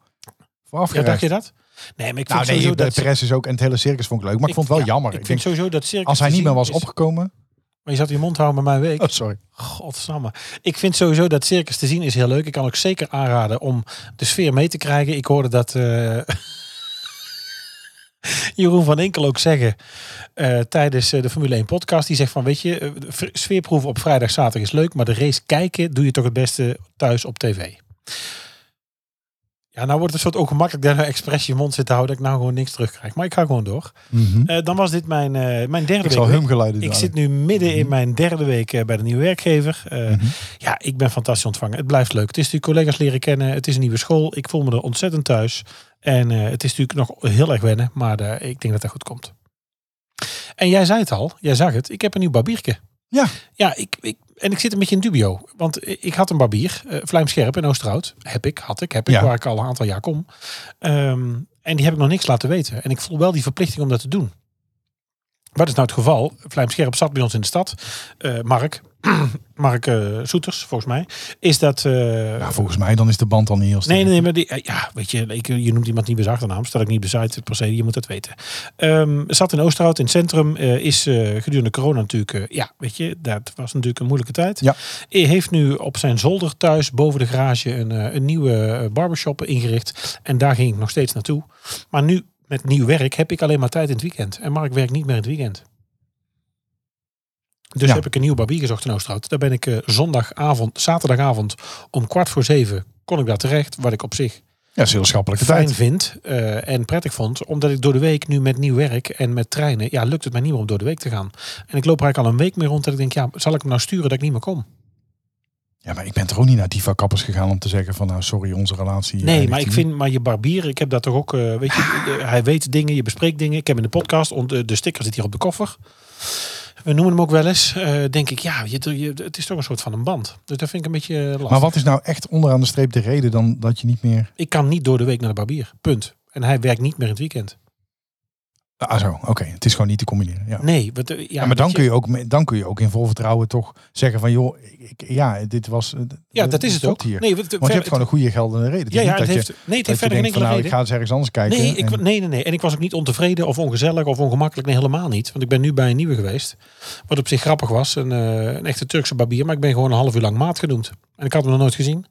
[SPEAKER 2] voor
[SPEAKER 3] ja,
[SPEAKER 2] afgereisd?
[SPEAKER 3] dacht je dat? Nee, maar ik vind
[SPEAKER 2] nou, nee,
[SPEAKER 3] sowieso
[SPEAKER 2] de
[SPEAKER 3] dat...
[SPEAKER 2] Perez is ook en het hele circus vond ik leuk. Maar ik vond het wel
[SPEAKER 3] ja,
[SPEAKER 2] jammer.
[SPEAKER 3] Ik,
[SPEAKER 2] Ik
[SPEAKER 3] vind
[SPEAKER 2] denk,
[SPEAKER 3] sowieso dat circus
[SPEAKER 2] als hij
[SPEAKER 3] te
[SPEAKER 2] niet meer
[SPEAKER 3] zien
[SPEAKER 2] was
[SPEAKER 3] is-
[SPEAKER 2] opgekomen...
[SPEAKER 3] Maar je zat in je mond houden bij mijn week.
[SPEAKER 2] Oh, sorry.
[SPEAKER 3] Godsamme. Ik vind sowieso dat circus te zien is heel leuk. Ik kan ook zeker aanraden om de sfeer mee te krijgen. Ik hoorde dat eh, Jeroen van Enkel ook zeggen eh, tijdens eh, de Formule 1 podcast. Die zegt van weet je, eh, v- sfeerproeven op vrijdag, zaterdag is leuk. Maar de race kijken doe je toch het beste thuis op tv. Ja, nou wordt het een soort ongemakkelijk dat nou expres je mond zit te houden. Dat ik nou gewoon niks terugkrijg. Maar ik ga gewoon door. Eh, dan was dit mijn, eh, mijn derde
[SPEAKER 2] Ik
[SPEAKER 3] week.
[SPEAKER 2] zal humgeluiden doen.
[SPEAKER 3] Ik zit nu midden in mijn derde week eh, bij de nieuwe werkgever. Eh, Ja, ik ben fantastisch ontvangen. Het blijft leuk. Het is natuurlijk collega's leren kennen. Het is een nieuwe school. Ik voel me er ontzettend thuis. En eh, het is natuurlijk nog heel erg wennen. Maar eh, ik denk dat dat goed komt. En jij zei het al. Jij zag het. Ik heb een nieuw barbierke.
[SPEAKER 2] Ja.
[SPEAKER 3] Ja, ik, ik, en ik zit een beetje in dubio. Want ik had een barbier. eh Vlijmscherp in Oosterhout. Heb ik, had ik, heb ik.
[SPEAKER 2] Ja.
[SPEAKER 3] Waar ik al een aantal jaar kom. Ehm, en die heb ik nog niks laten weten. En ik voel wel die verplichting om dat te doen. Wat is nou het geval? Vlijmscherp zat bij ons in de stad. Eh, Mark, Mark eh, Soeters, volgens mij. Is dat... eh,
[SPEAKER 2] Ja, volgens mij dan is de band al niet heel sterk.
[SPEAKER 3] nee, nee, nee, maar die, eh, ja, weet je, ik, je noemt iemand niet bij zijn achternaam. Stel ik niet bezit per se, je moet dat weten. Ehm, zat in Oosterhout in het centrum. eh, is eh, gedurende corona natuurlijk... eh, ja, weet je, dat was natuurlijk een moeilijke tijd.
[SPEAKER 2] Ja.
[SPEAKER 3] Hij heeft nu op zijn zolder thuis boven de garage een, eh, een nieuwe eh, barbershop ingericht. En daar ging ik nog steeds naartoe. Maar nu met nieuw werk heb ik alleen maar tijd in het weekend. En Mark werkt niet meer in het weekend. Dus
[SPEAKER 2] Ja.
[SPEAKER 3] heb ik een nieuwe barbier gezocht in Oosterhout. Daar ben ik eh, zondagavond, zaterdagavond om kwart voor zeven kon ik daar terecht. Wat ik op zich
[SPEAKER 2] Ja, dat is heel schappelijke
[SPEAKER 3] fijn
[SPEAKER 2] tijd.
[SPEAKER 3] vind eh, en prettig vond. Omdat ik door de week nu met nieuw werk en met treinen, ja, lukt het mij niet meer om door de week te gaan. En ik loop er eigenlijk al een week mee rond dat ik denk, ja, zal ik hem nou sturen dat ik niet meer kom?
[SPEAKER 2] Ja, maar ik ben toch ook niet naar diva kappers gegaan om te zeggen van nou sorry, onze relatie.
[SPEAKER 3] Nee,
[SPEAKER 2] eindigt
[SPEAKER 3] maar ik
[SPEAKER 2] hier.
[SPEAKER 3] vind, maar je barbier, ik heb dat toch ook, eh, weet je,
[SPEAKER 2] Ah.
[SPEAKER 3] eh, hij weet dingen, je bespreekt dingen. Ik heb in de podcast, ont- eh, de sticker zit hier op de koffer. We noemen hem ook wel eens, eh, denk ik, ja, je, je- het is toch een soort van een band. Dus dat vind ik een beetje eh, lastig.
[SPEAKER 2] Maar wat is nou echt onderaan de streep de reden dan dat je niet meer.
[SPEAKER 3] Ik kan niet door de week naar de barbier, punt. En hij werkt niet meer in het weekend.
[SPEAKER 2] Ah zo, oké. Het is gewoon niet te combineren. Ja.
[SPEAKER 3] Nee, wat, eh, ja,
[SPEAKER 2] Ja, maar dan
[SPEAKER 3] weet
[SPEAKER 2] kun, je ook, me- dan kun je ook in vol vertrouwen toch zeggen van joh, ik, ja, dit was. eh, d-
[SPEAKER 3] Ja,
[SPEAKER 2] d-
[SPEAKER 3] dat is het
[SPEAKER 2] stopt
[SPEAKER 3] ook.
[SPEAKER 2] Hier.
[SPEAKER 3] Nee, want,
[SPEAKER 2] Want je hebt gewoon een goede geldende reden. Het is
[SPEAKER 3] ja, ja,
[SPEAKER 2] niet
[SPEAKER 3] het
[SPEAKER 2] dat
[SPEAKER 3] heeft,
[SPEAKER 2] je,
[SPEAKER 3] nee,
[SPEAKER 2] dat
[SPEAKER 3] het heeft
[SPEAKER 2] je
[SPEAKER 3] verder geen
[SPEAKER 2] denkt van
[SPEAKER 3] enkele
[SPEAKER 2] nou, ik
[SPEAKER 3] reden.
[SPEAKER 2] ga eens ergens anders kijken.
[SPEAKER 3] Nee, ik,
[SPEAKER 2] en-
[SPEAKER 3] nee, nee, nee. En ik was ook niet ontevreden of ongezellig of ongemakkelijk. Nee, helemaal niet. Want ik ben nu bij een nieuwe geweest. Wat op zich grappig was. Een, eh, een echte Turkse barbier. Maar ik ben gewoon een half uur lang maat genoemd. En ik had hem nog nooit gezien. Dus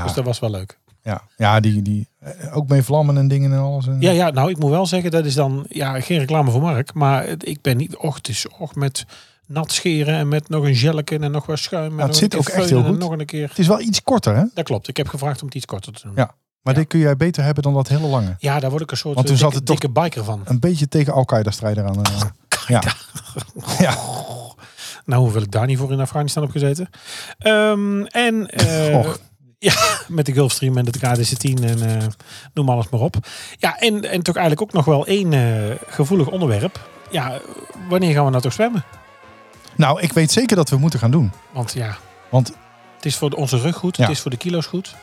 [SPEAKER 2] ja,
[SPEAKER 3] dat was wel leuk.
[SPEAKER 2] ja, ja, die, die eh, ook mee vlammen en dingen en alles. En,
[SPEAKER 3] Ja, ja, nou, ik moet wel zeggen. Dat is dan ja, geen reclame voor Mark. Maar het- ik ben niet... Och, het is och met nat scheren. En met nog een gelken en nog wat schuim. en
[SPEAKER 2] Nou, het zit
[SPEAKER 3] nog een keer
[SPEAKER 2] ook echt
[SPEAKER 3] feunen
[SPEAKER 2] heel
[SPEAKER 3] en
[SPEAKER 2] goed.
[SPEAKER 3] Nog een keer.
[SPEAKER 2] Het is wel iets korter, hè?
[SPEAKER 3] Dat klopt. Ik heb gevraagd om het iets korter te doen.
[SPEAKER 2] Ja.
[SPEAKER 3] Ja,
[SPEAKER 2] Maar dit kun jij beter hebben dan dat hele lange.
[SPEAKER 3] daar word ik een
[SPEAKER 2] Want
[SPEAKER 3] soort Want
[SPEAKER 2] toen
[SPEAKER 3] dikke,
[SPEAKER 2] zat het toch-
[SPEAKER 3] dikke biker van.
[SPEAKER 2] Een beetje tegen Al-Qaeda-strijder aan. eh. ja. ja.
[SPEAKER 3] Nou, hoeveel ik daar niet voor in Afghanistan heb gezeten. Ehm, en eh,
[SPEAKER 2] Och.
[SPEAKER 3] ja, met de Gulfstream en de KDC-10 en eh, noem alles maar op. Ja, en, en toch eigenlijk ook nog wel één eh, gevoelig onderwerp. Ja, wanneer gaan we nou toch zwemmen?
[SPEAKER 2] Nou, ik weet zeker dat we moeten gaan doen.
[SPEAKER 3] Want ja,
[SPEAKER 2] Want
[SPEAKER 3] het is voor onze rug goed,
[SPEAKER 2] Ja.
[SPEAKER 3] het is voor de kilo's goed.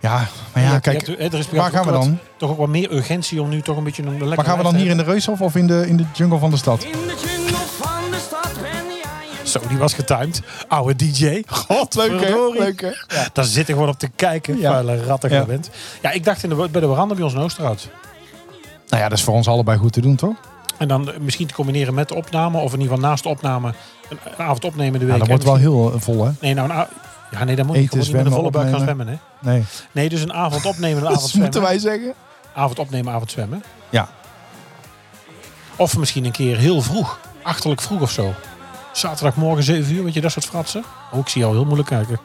[SPEAKER 2] ja, maar ja,
[SPEAKER 3] Je hebt-
[SPEAKER 2] kijk,
[SPEAKER 3] je hebt- hè, er is
[SPEAKER 2] waar gaan we
[SPEAKER 3] wat-
[SPEAKER 2] dan?
[SPEAKER 3] Toch ook wat meer urgentie om nu toch een beetje een lekker
[SPEAKER 2] Maar gaan we dan
[SPEAKER 3] lijf
[SPEAKER 2] hier
[SPEAKER 3] te
[SPEAKER 2] in de Reushof of in de, in de jungle van de stad?
[SPEAKER 4] In de jungle van de stad ben jij een...
[SPEAKER 3] hebben. Zo, die was getimed. Oude DJ. God,
[SPEAKER 2] hè? Ja.
[SPEAKER 3] Daar zit ik gewoon op te kijken,
[SPEAKER 2] Ja.
[SPEAKER 3] vuile rattig
[SPEAKER 2] Ja.
[SPEAKER 3] je bent. Ja, ik dacht in de, bij de veranda bij ons in Oosterhout.
[SPEAKER 2] Nou ja, dat is voor ons allebei goed te doen, toch?
[SPEAKER 3] En dan eh, misschien te combineren met de opname. Of in ieder geval naast de opname. Een, een avond opnemen de week.
[SPEAKER 2] Ja, dat wordt
[SPEAKER 3] hè,
[SPEAKER 2] wel
[SPEAKER 3] misschien.
[SPEAKER 2] heel eh, vol, hè?
[SPEAKER 3] Nee, nou, een a- ja, nee, dan moet
[SPEAKER 2] Eten,
[SPEAKER 3] je gewoon niet met een volle
[SPEAKER 2] zwemmen,
[SPEAKER 3] buik gaan
[SPEAKER 2] opnemen.
[SPEAKER 3] zwemmen. Hè?
[SPEAKER 2] Nee.
[SPEAKER 3] Nee, dus een avond opnemen, een avond
[SPEAKER 2] Dat
[SPEAKER 3] zwemmen.
[SPEAKER 2] moeten wij zeggen.
[SPEAKER 3] Avond opnemen, avond zwemmen.
[SPEAKER 2] Ja.
[SPEAKER 3] Of misschien een keer heel vroeg. Achterlijk vroeg of zo. Zaterdagmorgen 7 uur, weet je, dat soort fratsen. Oh, ik zie jou heel moeilijk kijken.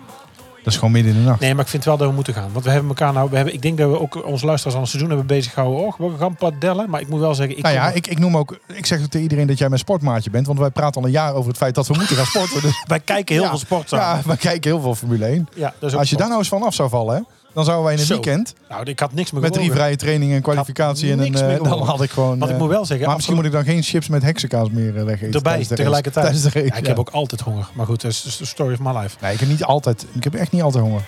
[SPEAKER 2] Dat is gewoon midden in de nacht.
[SPEAKER 3] Nee, maar ik vind wel dat we moeten gaan. Want we hebben elkaar nou... We hebben, ik denk dat we ook onze luisteraars aan het seizoen hebben bezig gehouden. Och, we gaan padellen. Maar ik moet wel zeggen... Ik
[SPEAKER 2] Nou ja,
[SPEAKER 3] kom-
[SPEAKER 2] ik, ik noem ook, ik zeg ook tegen iedereen dat jij mijn sportmaatje bent, want wij praten al een jaar over het feit dat we moeten gaan sporten. Dus
[SPEAKER 3] wij kijken heel
[SPEAKER 2] Ja,
[SPEAKER 3] veel sport aan.
[SPEAKER 2] ja, we kijken heel veel Formule 1.
[SPEAKER 3] Ja, dat is ook
[SPEAKER 2] Als je
[SPEAKER 3] sport.
[SPEAKER 2] daar nou eens van af zou vallen, hè, dan zouden wij in een
[SPEAKER 3] Zo.
[SPEAKER 2] weekend
[SPEAKER 3] Nou, ik had niks meer
[SPEAKER 2] met drie
[SPEAKER 3] gewonnen.
[SPEAKER 2] vrije trainingen en kwalificatie en een,
[SPEAKER 3] niks meer
[SPEAKER 2] eh, dan
[SPEAKER 3] gewonnen.
[SPEAKER 2] had ik gewoon.
[SPEAKER 3] Want ik
[SPEAKER 2] eh,
[SPEAKER 3] moet wel zeggen,
[SPEAKER 2] maar misschien moet ik dan geen chips met heksenkaas meer eh, wegeten.
[SPEAKER 3] erbij
[SPEAKER 2] tijdens de race.
[SPEAKER 3] tegelijkertijd.
[SPEAKER 2] Tijdens de race,
[SPEAKER 3] ja, ik heb ook altijd honger. Maar goed, dat is de story of my life.
[SPEAKER 2] Nee, ik heb niet altijd. Ik heb echt niet altijd honger.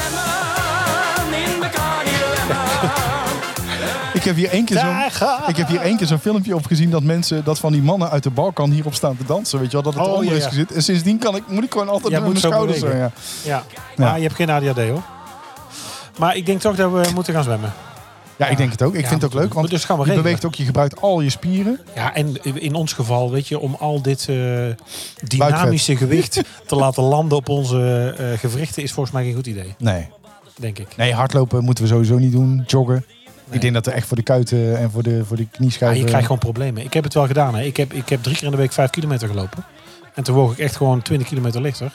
[SPEAKER 4] Zwemmen in de Cardilemma.
[SPEAKER 2] Ik heb hier één keer zo'n.
[SPEAKER 3] Daar ga-
[SPEAKER 2] Ik heb hier één keer zo'n filmpje op gezien dat mensen, dat van die mannen uit de Balkan hierop staan te dansen. Weet je wel, dat het
[SPEAKER 3] Oh,
[SPEAKER 2] onder
[SPEAKER 3] ja,
[SPEAKER 2] is
[SPEAKER 3] ja.
[SPEAKER 2] gezet. En sindsdien kan ik, moet ik gewoon altijd met
[SPEAKER 3] Ja,
[SPEAKER 2] mijn
[SPEAKER 3] moet zo
[SPEAKER 2] schouders. Zo, ja.
[SPEAKER 3] bewegen. Ja. Maar je hebt geen ADHD hoor. Maar ik denk toch dat we moeten gaan zwemmen.
[SPEAKER 2] ja, ik denk het ook. Ik
[SPEAKER 3] Ja,
[SPEAKER 2] vind het ook leuk, want
[SPEAKER 3] dus gaan we
[SPEAKER 2] je
[SPEAKER 3] regelen.
[SPEAKER 2] beweegt ook, je gebruikt al je spieren.
[SPEAKER 3] Ja, en in ons geval, weet je, om al dit eh, dynamische gewicht te laten landen op onze eh, gewrichten is volgens mij geen goed idee,
[SPEAKER 2] Nee.
[SPEAKER 3] denk ik.
[SPEAKER 2] Nee, hardlopen moeten we sowieso niet doen. Joggen. Ik denk dat er echt voor de kuiten en voor de, voor de
[SPEAKER 3] Ja,
[SPEAKER 2] knieschijven...
[SPEAKER 3] Ah, je krijgt gewoon problemen. Ik heb het wel gedaan. Hè. Ik, heb, ik heb drie keer in de week vijf kilometer gelopen. En toen woog ik echt gewoon 20 kilometer lichter.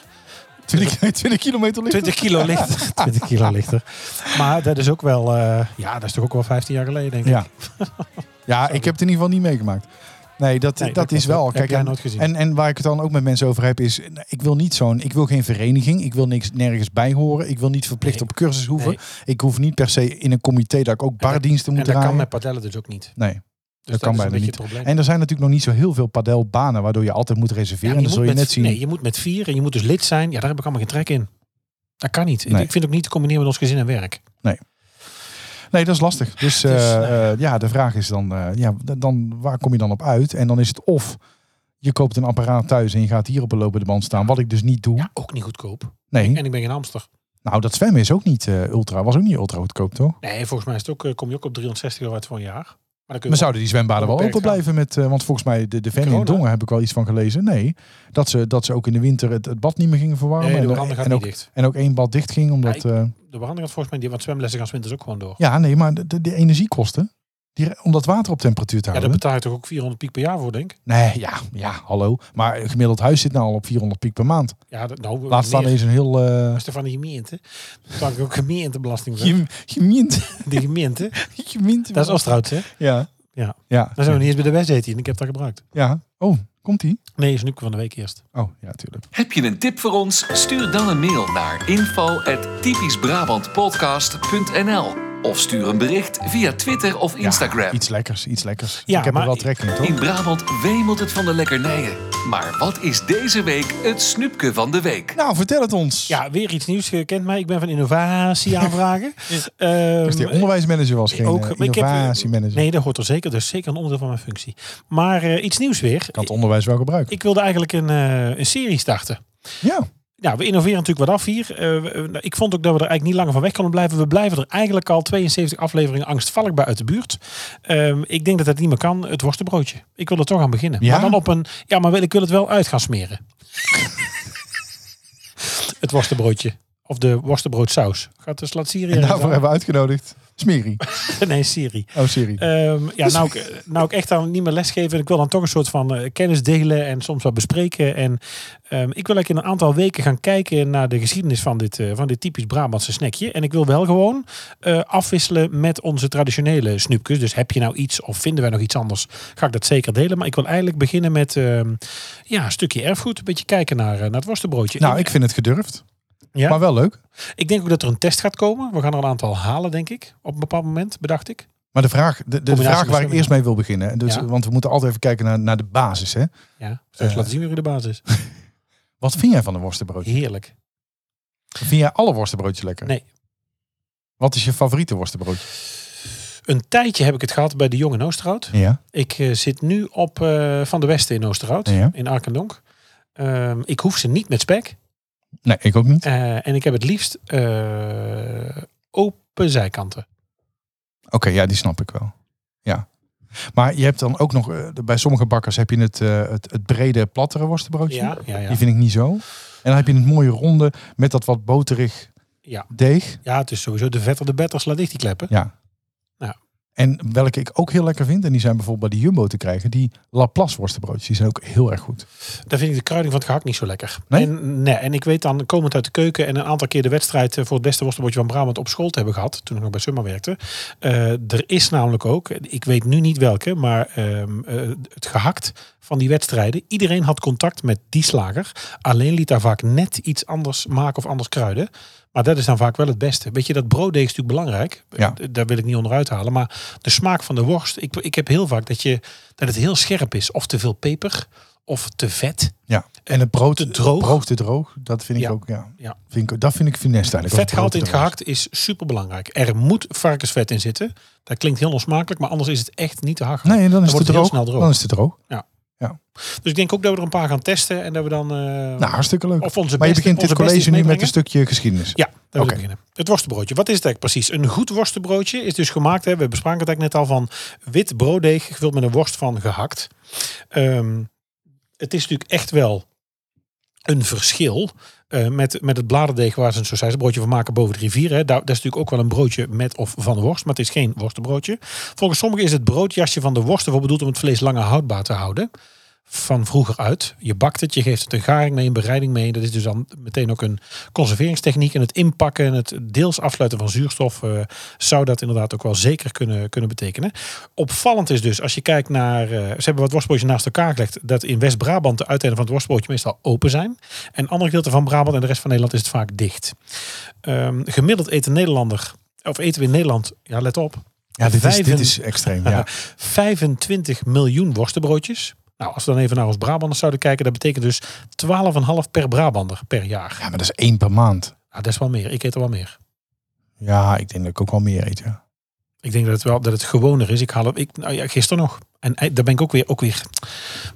[SPEAKER 2] 20, 20 kilometer liggen.
[SPEAKER 3] 20 kilo lichter. 20 kilo lichter. Maar dat is ook wel, eh, ja, dat is toch ook wel 15 jaar geleden, denk ik.
[SPEAKER 2] Ja. ja, ik heb het in ieder geval niet meegemaakt. Nee, dat,
[SPEAKER 3] Nee,
[SPEAKER 2] dat,
[SPEAKER 3] dat
[SPEAKER 2] is
[SPEAKER 3] klopt.
[SPEAKER 2] wel.
[SPEAKER 3] Heb
[SPEAKER 2] Kijk,
[SPEAKER 3] jij
[SPEAKER 2] en-
[SPEAKER 3] nooit gezien.
[SPEAKER 2] En, en waar ik het dan ook met mensen over heb is... Ik wil niet zo'n... Ik wil geen vereniging. Ik wil niks, nergens bij horen. Ik wil niet verplicht
[SPEAKER 3] Nee.
[SPEAKER 2] op cursus hoeven.
[SPEAKER 3] Nee.
[SPEAKER 2] Ik hoef niet per se in een comité dat ik ook bardiensten
[SPEAKER 3] En
[SPEAKER 2] moet
[SPEAKER 3] dat
[SPEAKER 2] draaien.
[SPEAKER 3] kan met padellen dus ook niet.
[SPEAKER 2] Nee.
[SPEAKER 3] Dus
[SPEAKER 2] Dat kan
[SPEAKER 3] is
[SPEAKER 2] bijna
[SPEAKER 3] een beetje
[SPEAKER 2] niet.
[SPEAKER 3] het probleem.
[SPEAKER 2] En er zijn natuurlijk nog niet zo heel veel padelbanen... waardoor je altijd moet
[SPEAKER 3] Ja,
[SPEAKER 2] reserveren.
[SPEAKER 3] maar
[SPEAKER 2] en dan zul je
[SPEAKER 3] moet
[SPEAKER 2] net
[SPEAKER 3] met,
[SPEAKER 2] zien...
[SPEAKER 3] Nee, je moet met vier en je moet dus lid zijn. Ja, daar heb ik allemaal geen trek in. Dat kan niet. Ik-
[SPEAKER 2] Nee.
[SPEAKER 3] Ik vind het ook niet te combineren met ons gezin en werk.
[SPEAKER 2] Nee, dat is lastig. Dus, eh,
[SPEAKER 3] nou ja.
[SPEAKER 2] eh, ja, de vraag is dan, eh, ja, d- dan, waar kom je dan op uit? En dan is het of je koopt een apparaat thuis en je gaat hier op een lopende band staan, wat ik dus niet doe.
[SPEAKER 3] Ja, ook niet goedkoop.
[SPEAKER 2] Nee,
[SPEAKER 3] En ik ben geen Amster.
[SPEAKER 2] nou dat zwemmen is ook niet eh, ultra, was ook niet ultra goedkoop toch?
[SPEAKER 3] Nee, volgens mij is het ook, eh, kom je ook op 360 euro uit voor een jaar. Maar dan kun je
[SPEAKER 2] Maar zouden die zwembaden wel
[SPEAKER 3] Beperkt
[SPEAKER 2] open blijven met, eh, want volgens mij de, de Ven in
[SPEAKER 3] Corona?
[SPEAKER 2] Dongen heb ik wel iets van gelezen. Nee, dat ze, dat ze ook in de winter het, het bad niet meer gingen verwarmen.
[SPEAKER 3] Nee, de
[SPEAKER 2] en,
[SPEAKER 3] veranda gaat
[SPEAKER 2] en
[SPEAKER 3] niet
[SPEAKER 2] ook,
[SPEAKER 3] dicht.
[SPEAKER 2] en ook één bad dicht ging omdat, eh,
[SPEAKER 3] De verandering gaat volgens mij die, want zwemlessen gaan 's winters ook gewoon door.
[SPEAKER 2] ja nee, maar de, de- de energiekosten, die, om dat water op temperatuur te
[SPEAKER 3] Ja,
[SPEAKER 2] houden.
[SPEAKER 3] daar betaal je toch ook 400 piek per jaar voor, denk ik.
[SPEAKER 2] Nee, ja, ja, hallo. Maar een gemiddeld huis zit nou al op 400 piek per maand.
[SPEAKER 3] Ja, dat, nou,
[SPEAKER 2] Laat staan
[SPEAKER 3] meer.
[SPEAKER 2] is een heel... eh
[SPEAKER 3] Als je van de gemeente. Dan kan ik ook gemeentebelasting.
[SPEAKER 2] je Gemint.
[SPEAKER 3] De gemeente.
[SPEAKER 2] Gemint.
[SPEAKER 3] Dat is Oosterhout, hè?
[SPEAKER 2] Ja.
[SPEAKER 3] Ja.
[SPEAKER 2] Ja.
[SPEAKER 3] Dan zijn we niet eens bij de wedstrijd hier. en Ik heb dat gebruikt.
[SPEAKER 2] Ja. Oh, Komt die?
[SPEAKER 3] Nee, is nu van de week eerst.
[SPEAKER 2] Oh, ja, tuurlijk.
[SPEAKER 1] Heb je een tip voor ons? Stuur dan een mail naar info.typischbrabantpodcast.nl of stuur een bericht via Twitter of Instagram.
[SPEAKER 2] Ja, iets lekkers, iets lekkers.
[SPEAKER 3] Ja,
[SPEAKER 2] ik heb
[SPEAKER 3] maar-
[SPEAKER 2] er wel trek in, toch?
[SPEAKER 1] In Brabant wemelt het van de lekkernijen. Maar wat is deze week het snoepje van de week?
[SPEAKER 2] Nou, vertel het ons.
[SPEAKER 3] Ja, weer iets nieuws. Je kent mij. Ik ben van innovatie aanvragen. Ehm,
[SPEAKER 2] Dus die onderwijsmanager was geen ook,
[SPEAKER 3] maar ik heb, eh,
[SPEAKER 2] innovatiemanager.
[SPEAKER 3] nee, dat hoort er zeker. Dat is zeker een onderdeel van mijn functie. Maar eh, iets nieuws weer.
[SPEAKER 2] kan het onderwijs wel gebruiken.
[SPEAKER 3] Ik wilde eigenlijk een, eh, een serie starten.
[SPEAKER 2] ja,
[SPEAKER 3] Nou, we innoveren natuurlijk wat af hier. Eh, we- eh, nou, ik vond ook dat we er eigenlijk niet langer van weg konden blijven. We blijven er eigenlijk al 72 afleveringen angstvallig bij uit de buurt. Ehm, ik denk dat dat niet meer kan. Het worstenbroodje. Ik wil er toch aan beginnen.
[SPEAKER 2] Ja?
[SPEAKER 3] Maar dan op een... Ja, maar wel- ik wil het wel uit gaan smeren. het worstenbroodje. Of de worstenbroodsaus. Gaat de slaat Siri...
[SPEAKER 2] en
[SPEAKER 3] ergens
[SPEAKER 2] daarvoor
[SPEAKER 3] aan?
[SPEAKER 2] hebben Nou, we uitgenodigd. Smiri.
[SPEAKER 3] Nee, Siri.
[SPEAKER 2] Oh, Siri.
[SPEAKER 3] Ehm, ja, nou ik, nou ik echt dan niet meer lesgeven. en Ik wil dan toch een soort van eh, kennis delen en soms wat bespreken. En ehm, ik wil eigenlijk in een aantal weken gaan kijken naar de geschiedenis van dit, eh, van dit typisch Brabantse snackje. En ik wil wel gewoon eh, afwisselen met onze traditionele snoepjes. Dus heb je nou iets of vinden wij nog iets anders, ga ik dat zeker delen. Maar ik wil eigenlijk beginnen met ehm, ja, een stukje erfgoed. Een beetje kijken naar, eh, naar het worstenbroodje.
[SPEAKER 2] nou, ik vind het gedurfd.
[SPEAKER 3] Ja?
[SPEAKER 2] Maar wel leuk.
[SPEAKER 3] ik denk ook dat er een test gaat komen. We gaan er een aantal halen, denk ik. Op een bepaald moment, bedacht ik.
[SPEAKER 2] Maar de vraag, de, de
[SPEAKER 3] Combinatie
[SPEAKER 2] vraag waar ik
[SPEAKER 3] verschillende.
[SPEAKER 2] eerst mee wil beginnen. Dus,
[SPEAKER 3] Ja.
[SPEAKER 2] Want we moeten altijd even kijken naar, naar de basis. Hè?
[SPEAKER 3] Ja, straks
[SPEAKER 2] Eh.
[SPEAKER 3] laten zien wie er de baas is.
[SPEAKER 2] Wat vind jij van een worstenbroodje?
[SPEAKER 3] Heerlijk.
[SPEAKER 2] Vind jij alle worstenbroodjes lekker?
[SPEAKER 3] Nee.
[SPEAKER 2] Wat is je favoriete worstenbroodje?
[SPEAKER 3] Een tijdje heb ik het gehad bij de jonge in Oosterhout.
[SPEAKER 2] Ja.
[SPEAKER 3] Ik eh, zit nu op eh, Van de Westen in Oosterhout,
[SPEAKER 2] Ja.
[SPEAKER 3] in Arkendonk. Ehm, ik hoef ze niet met spek.
[SPEAKER 2] Nee, ik ook niet.
[SPEAKER 3] Eh, en ik heb het liefst eh, open zijkanten.
[SPEAKER 2] Oké, ja, die snap ik wel. Ja. Maar je hebt dan ook nog, eh, bij sommige bakkers heb je het, eh, het, het brede, plattere worstenbroodje.
[SPEAKER 3] Ja, ja, ja.
[SPEAKER 2] Die vind ik niet zo. En dan heb je het mooie ronde met dat wat boterig
[SPEAKER 3] ja.
[SPEAKER 2] deeg.
[SPEAKER 3] Ja, het is sowieso de vetter de better, sla dicht die kleppen.
[SPEAKER 2] Ja.
[SPEAKER 3] Ja.
[SPEAKER 2] En welke ik ook heel lekker vind, en die zijn bijvoorbeeld bij de Jumbo te krijgen, die Laplace worstenbroodjes. Die zijn ook heel erg goed.
[SPEAKER 3] Daar vind ik de kruiding van het gehakt niet zo lekker.
[SPEAKER 2] Nee?
[SPEAKER 3] En, nee, en ik weet dan, komend uit de keuken en een aantal keer de wedstrijd eh, voor het beste worstenbroodje van Brabant op school te hebben gehad. Toen ik nog bij Summer werkte. Eh, er is namelijk ook, ik weet nu niet welke, maar ehm, eh, het gehakt van die wedstrijden. Iedereen had contact met die slager. Alleen liet daar vaak net iets anders maken of anders kruiden. Maar dat is dan vaak wel het beste. Weet je, dat brooddeeg is natuurlijk belangrijk.
[SPEAKER 2] Ja.
[SPEAKER 3] Eh, Daar wil ik niet onderuit halen. Maar de smaak van de worst. Ik, ik heb heel vaak dat, je, dat het heel scherp is. Of te veel peper. Of te vet.
[SPEAKER 2] Ja. En het brood
[SPEAKER 3] Te droog.
[SPEAKER 2] brood te droog, dat vind ik
[SPEAKER 3] Ja.
[SPEAKER 2] ook, ja.
[SPEAKER 3] Ja.
[SPEAKER 2] Vind ik, dat vind ik finesse eigenlijk. als brood
[SPEAKER 3] Vetgehalte
[SPEAKER 2] te
[SPEAKER 3] in het
[SPEAKER 2] droog is.
[SPEAKER 3] gehakt is superbelangrijk. Er moet varkensvet in zitten. Dat klinkt heel onsmakelijk, maar anders is het echt niet te hakken.
[SPEAKER 2] Nee, en dan is het
[SPEAKER 3] wordt
[SPEAKER 2] te
[SPEAKER 3] heel
[SPEAKER 2] droog.
[SPEAKER 3] snel droog.
[SPEAKER 2] Dan is het te droog.
[SPEAKER 3] Dus ik denk ook dat we er een paar gaan testen en dat we dan. eh,
[SPEAKER 2] Nou, hartstikke leuk.
[SPEAKER 3] Of onze
[SPEAKER 2] maar je
[SPEAKER 3] beste-
[SPEAKER 2] begint
[SPEAKER 3] onze
[SPEAKER 2] dit
[SPEAKER 3] beste
[SPEAKER 2] college nu met
[SPEAKER 3] meebrengen?
[SPEAKER 2] een stukje geschiedenis.
[SPEAKER 3] Ja, daar wil ik
[SPEAKER 2] Oké.
[SPEAKER 3] beginnen. Het worstenbroodje. Wat is het eigenlijk precies? Een goed worstenbroodje is dus gemaakt, hè, we bespraken het eigenlijk net al, van wit brooddeeg gevuld met een worst van gehakt. Ehm, het is natuurlijk echt wel een verschil eh, met, met het bladerdeeg waar ze een sausijsbroodje van maken boven de rivier. Hè. Daar, dat is natuurlijk ook wel een broodje met of van worst, maar het is geen worstenbroodje. Volgens sommigen is het broodjasje van de worst ervoor bedoeld om het vlees langer houdbaar te houden. Van vroeger uit. Je bakt het, je geeft het een garing mee, een bereiding mee. Dat is dus dan meteen ook een conserveringstechniek. En het inpakken en het deels afsluiten van zuurstof eh, zou dat inderdaad ook wel zeker kunnen, kunnen betekenen. Opvallend is dus, als je kijkt naar. eh, ze hebben wat worstbroodjes naast elkaar gelegd. Dat in West-Brabant de uiteinden van het worstbroodje meestal open zijn. En andere gedeelten van Brabant en de rest van Nederland is het vaak dicht. Ehm, gemiddeld eet een Nederlander. Of eten we in Nederland, ja let op,
[SPEAKER 2] Ja, dit is, dit
[SPEAKER 3] Vijven-
[SPEAKER 2] is extreem. Ja.
[SPEAKER 3] 25 miljoen worstenbroodjes. Nou, als we dan even naar ons Brabanders zouden kijken, dat betekent dus 12,5 per Brabander per jaar.
[SPEAKER 2] ja, maar dat is één per maand.
[SPEAKER 3] Nou, dat is wel meer. Ik eet er wel meer.
[SPEAKER 2] Ja, ik denk dat ik ook wel meer eet. Ja.
[SPEAKER 3] Ik denk dat het wel dat het gewoner is. Ik haal het. Ik, nou ja, gisteren nog. En ei- daar ben ik ook weer, ook weer.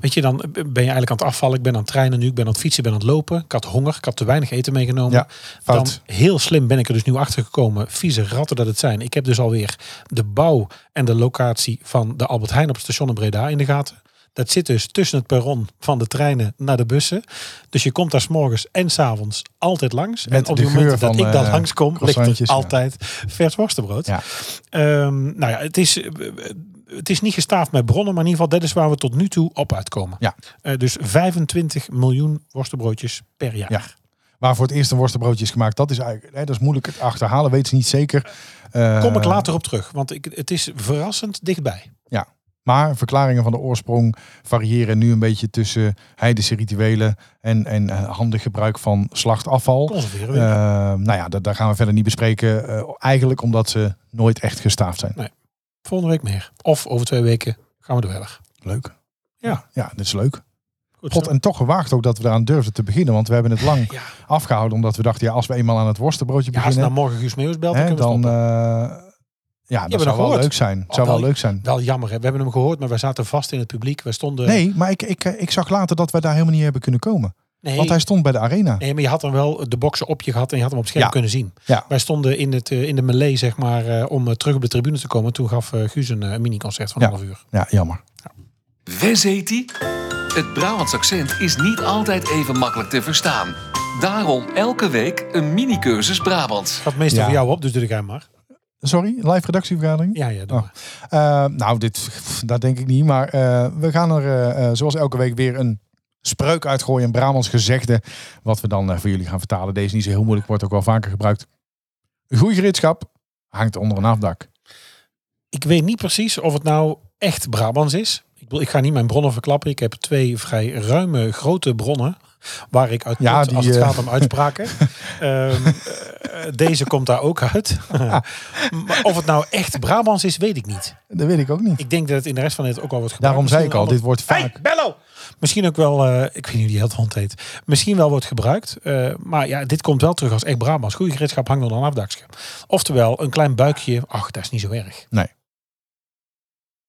[SPEAKER 3] Weet je, dan ben je eigenlijk aan het afvallen. Ik ben aan het trainen nu. Ik ben aan het fietsen. Ik ben aan het lopen. Ik had honger. Ik had te weinig eten meegenomen.
[SPEAKER 2] Ja,
[SPEAKER 3] dan
[SPEAKER 2] fout.
[SPEAKER 3] heel slim ben ik er dus nu achter gekomen. Vieze ratten dat het zijn. Ik heb dus alweer de bouw en de locatie van de Albert Heijn op het station in Breda in de gaten. Dat zit dus tussen het perron van de treinen naar de bussen. Dus je komt daar 's morgens en 's avonds altijd langs.
[SPEAKER 2] Met
[SPEAKER 3] en op
[SPEAKER 2] de
[SPEAKER 3] het moment
[SPEAKER 2] geur
[SPEAKER 3] dat
[SPEAKER 2] van,
[SPEAKER 3] ik dan
[SPEAKER 2] eh,
[SPEAKER 3] langskom, ligt er
[SPEAKER 2] croissantjes, ja.
[SPEAKER 3] altijd vers worstenbrood.
[SPEAKER 2] Ja.
[SPEAKER 3] Ehm, nou ja, het is, eh, het is niet gestaafd met bronnen, maar in ieder geval dat is waar we tot nu toe op uitkomen.
[SPEAKER 2] Ja.
[SPEAKER 3] Eh, dus 25 miljoen worstenbroodjes per jaar.
[SPEAKER 2] Ja. Waar voor het eerst een worstenbroodje is gemaakt, dat is eigenlijk hè, dat is moeilijk het achterhalen. Weet ze niet zeker. Eh,
[SPEAKER 3] Kom ik later op terug, want ik, het is verrassend dichtbij.
[SPEAKER 2] Ja. Maar verklaringen van de oorsprong variëren nu een beetje tussen heidense rituelen en, en eh, handig gebruik van slachtafval.
[SPEAKER 3] Conserveren
[SPEAKER 2] Eh,
[SPEAKER 3] weer.
[SPEAKER 2] nou ja, dat, daar gaan we verder niet bespreken. eh, eigenlijk omdat ze nooit echt gestaafd zijn.
[SPEAKER 3] Volgende week meer. Of over twee weken gaan we er verder.
[SPEAKER 2] Leuk.
[SPEAKER 3] Ja.
[SPEAKER 2] Ja, dat is leuk.
[SPEAKER 3] Goed
[SPEAKER 2] God,
[SPEAKER 3] zo.
[SPEAKER 2] en toch gewaagd ook dat we eraan durfden te beginnen. Want we hebben het lang
[SPEAKER 3] Ja,
[SPEAKER 2] afgehouden. Omdat we dachten, ja, als we eenmaal aan het worstenbroodje
[SPEAKER 3] ja als
[SPEAKER 2] beginnen...
[SPEAKER 3] nou morgen Guus Meeuwis belt, dan
[SPEAKER 2] hè,
[SPEAKER 3] kunnen we
[SPEAKER 2] dan,
[SPEAKER 3] stoppen.
[SPEAKER 2] eh, ja, dat zou
[SPEAKER 3] we nog
[SPEAKER 2] wel
[SPEAKER 3] gehoord.
[SPEAKER 2] leuk zijn. Het zou
[SPEAKER 3] Oh,
[SPEAKER 2] wel leuk zijn.
[SPEAKER 3] Wel jammer, hè. we hebben hem gehoord, maar wij zaten vast in het publiek. We stonden...
[SPEAKER 2] Nee, maar ik, ik, eh, ik zag later dat wij daar helemaal niet hebben kunnen komen.
[SPEAKER 3] nee,
[SPEAKER 2] Want hij stond bij de arena.
[SPEAKER 3] nee, maar je had hem wel de boksen op je gehad en je had hem op scherm
[SPEAKER 2] Ja.
[SPEAKER 3] kunnen zien.
[SPEAKER 2] Ja.
[SPEAKER 3] Wij stonden in, het, eh, in de melee, zeg maar, eh, om eh, terug op de tribune te komen. Toen gaf eh, Guus een, eh, een mini-concert van
[SPEAKER 2] Ja.
[SPEAKER 3] een half uur.
[SPEAKER 2] Ja, jammer.
[SPEAKER 1] Wes heet die? Het Brabants accent is niet altijd even makkelijk te verstaan. Daarom elke week een mini-cursus Brabants.
[SPEAKER 3] Gaat meestal
[SPEAKER 2] Ja.
[SPEAKER 3] voor jou op, dus doe ik hem maar.
[SPEAKER 2] Sorry, live redactievergadering?
[SPEAKER 3] Ja, ja, doe
[SPEAKER 2] Oh.
[SPEAKER 3] maar.
[SPEAKER 2] Eh, nou, dit, pff, dat denk ik niet. Maar eh, we gaan er eh, eh, zoals elke week weer een spreuk uitgooien. Een Brabants gezegde. Wat we dan eh, voor jullie gaan vertalen. Deze is niet zo heel moeilijk. Wordt ook wel vaker gebruikt. Goeie gereedschap hangt onder een afdak.
[SPEAKER 3] Ik weet niet precies of het nou echt Brabants is. Ik, bedoel, ik ga niet mijn bronnen verklappen. Ik heb twee vrij ruime, grote bronnen. Waar ik uit
[SPEAKER 2] Ja,
[SPEAKER 3] put
[SPEAKER 2] die,
[SPEAKER 3] als het
[SPEAKER 2] eh,
[SPEAKER 3] gaat om uitspraken. Ehm, eh, deze komt daar ook uit. maar of het nou echt Brabants is, weet ik niet.
[SPEAKER 2] Dat weet ik ook niet.
[SPEAKER 3] Ik denk dat het in de rest van het ook al wordt
[SPEAKER 2] Daarom
[SPEAKER 3] gebruikt.
[SPEAKER 2] zei ik
[SPEAKER 3] Misschien
[SPEAKER 2] al,
[SPEAKER 3] een
[SPEAKER 2] dit wordt
[SPEAKER 3] ander-
[SPEAKER 2] vaak.
[SPEAKER 3] Hey, bello! Misschien ook wel, eh, ik weet niet hoe die het hond heet. Misschien wel wordt gebruikt. eh, maar ja, dit komt wel terug als echt Brabants. Goede gereedschap hangt onder een afdakje. Oftewel, een klein buikje. Ach, dat is niet zo erg.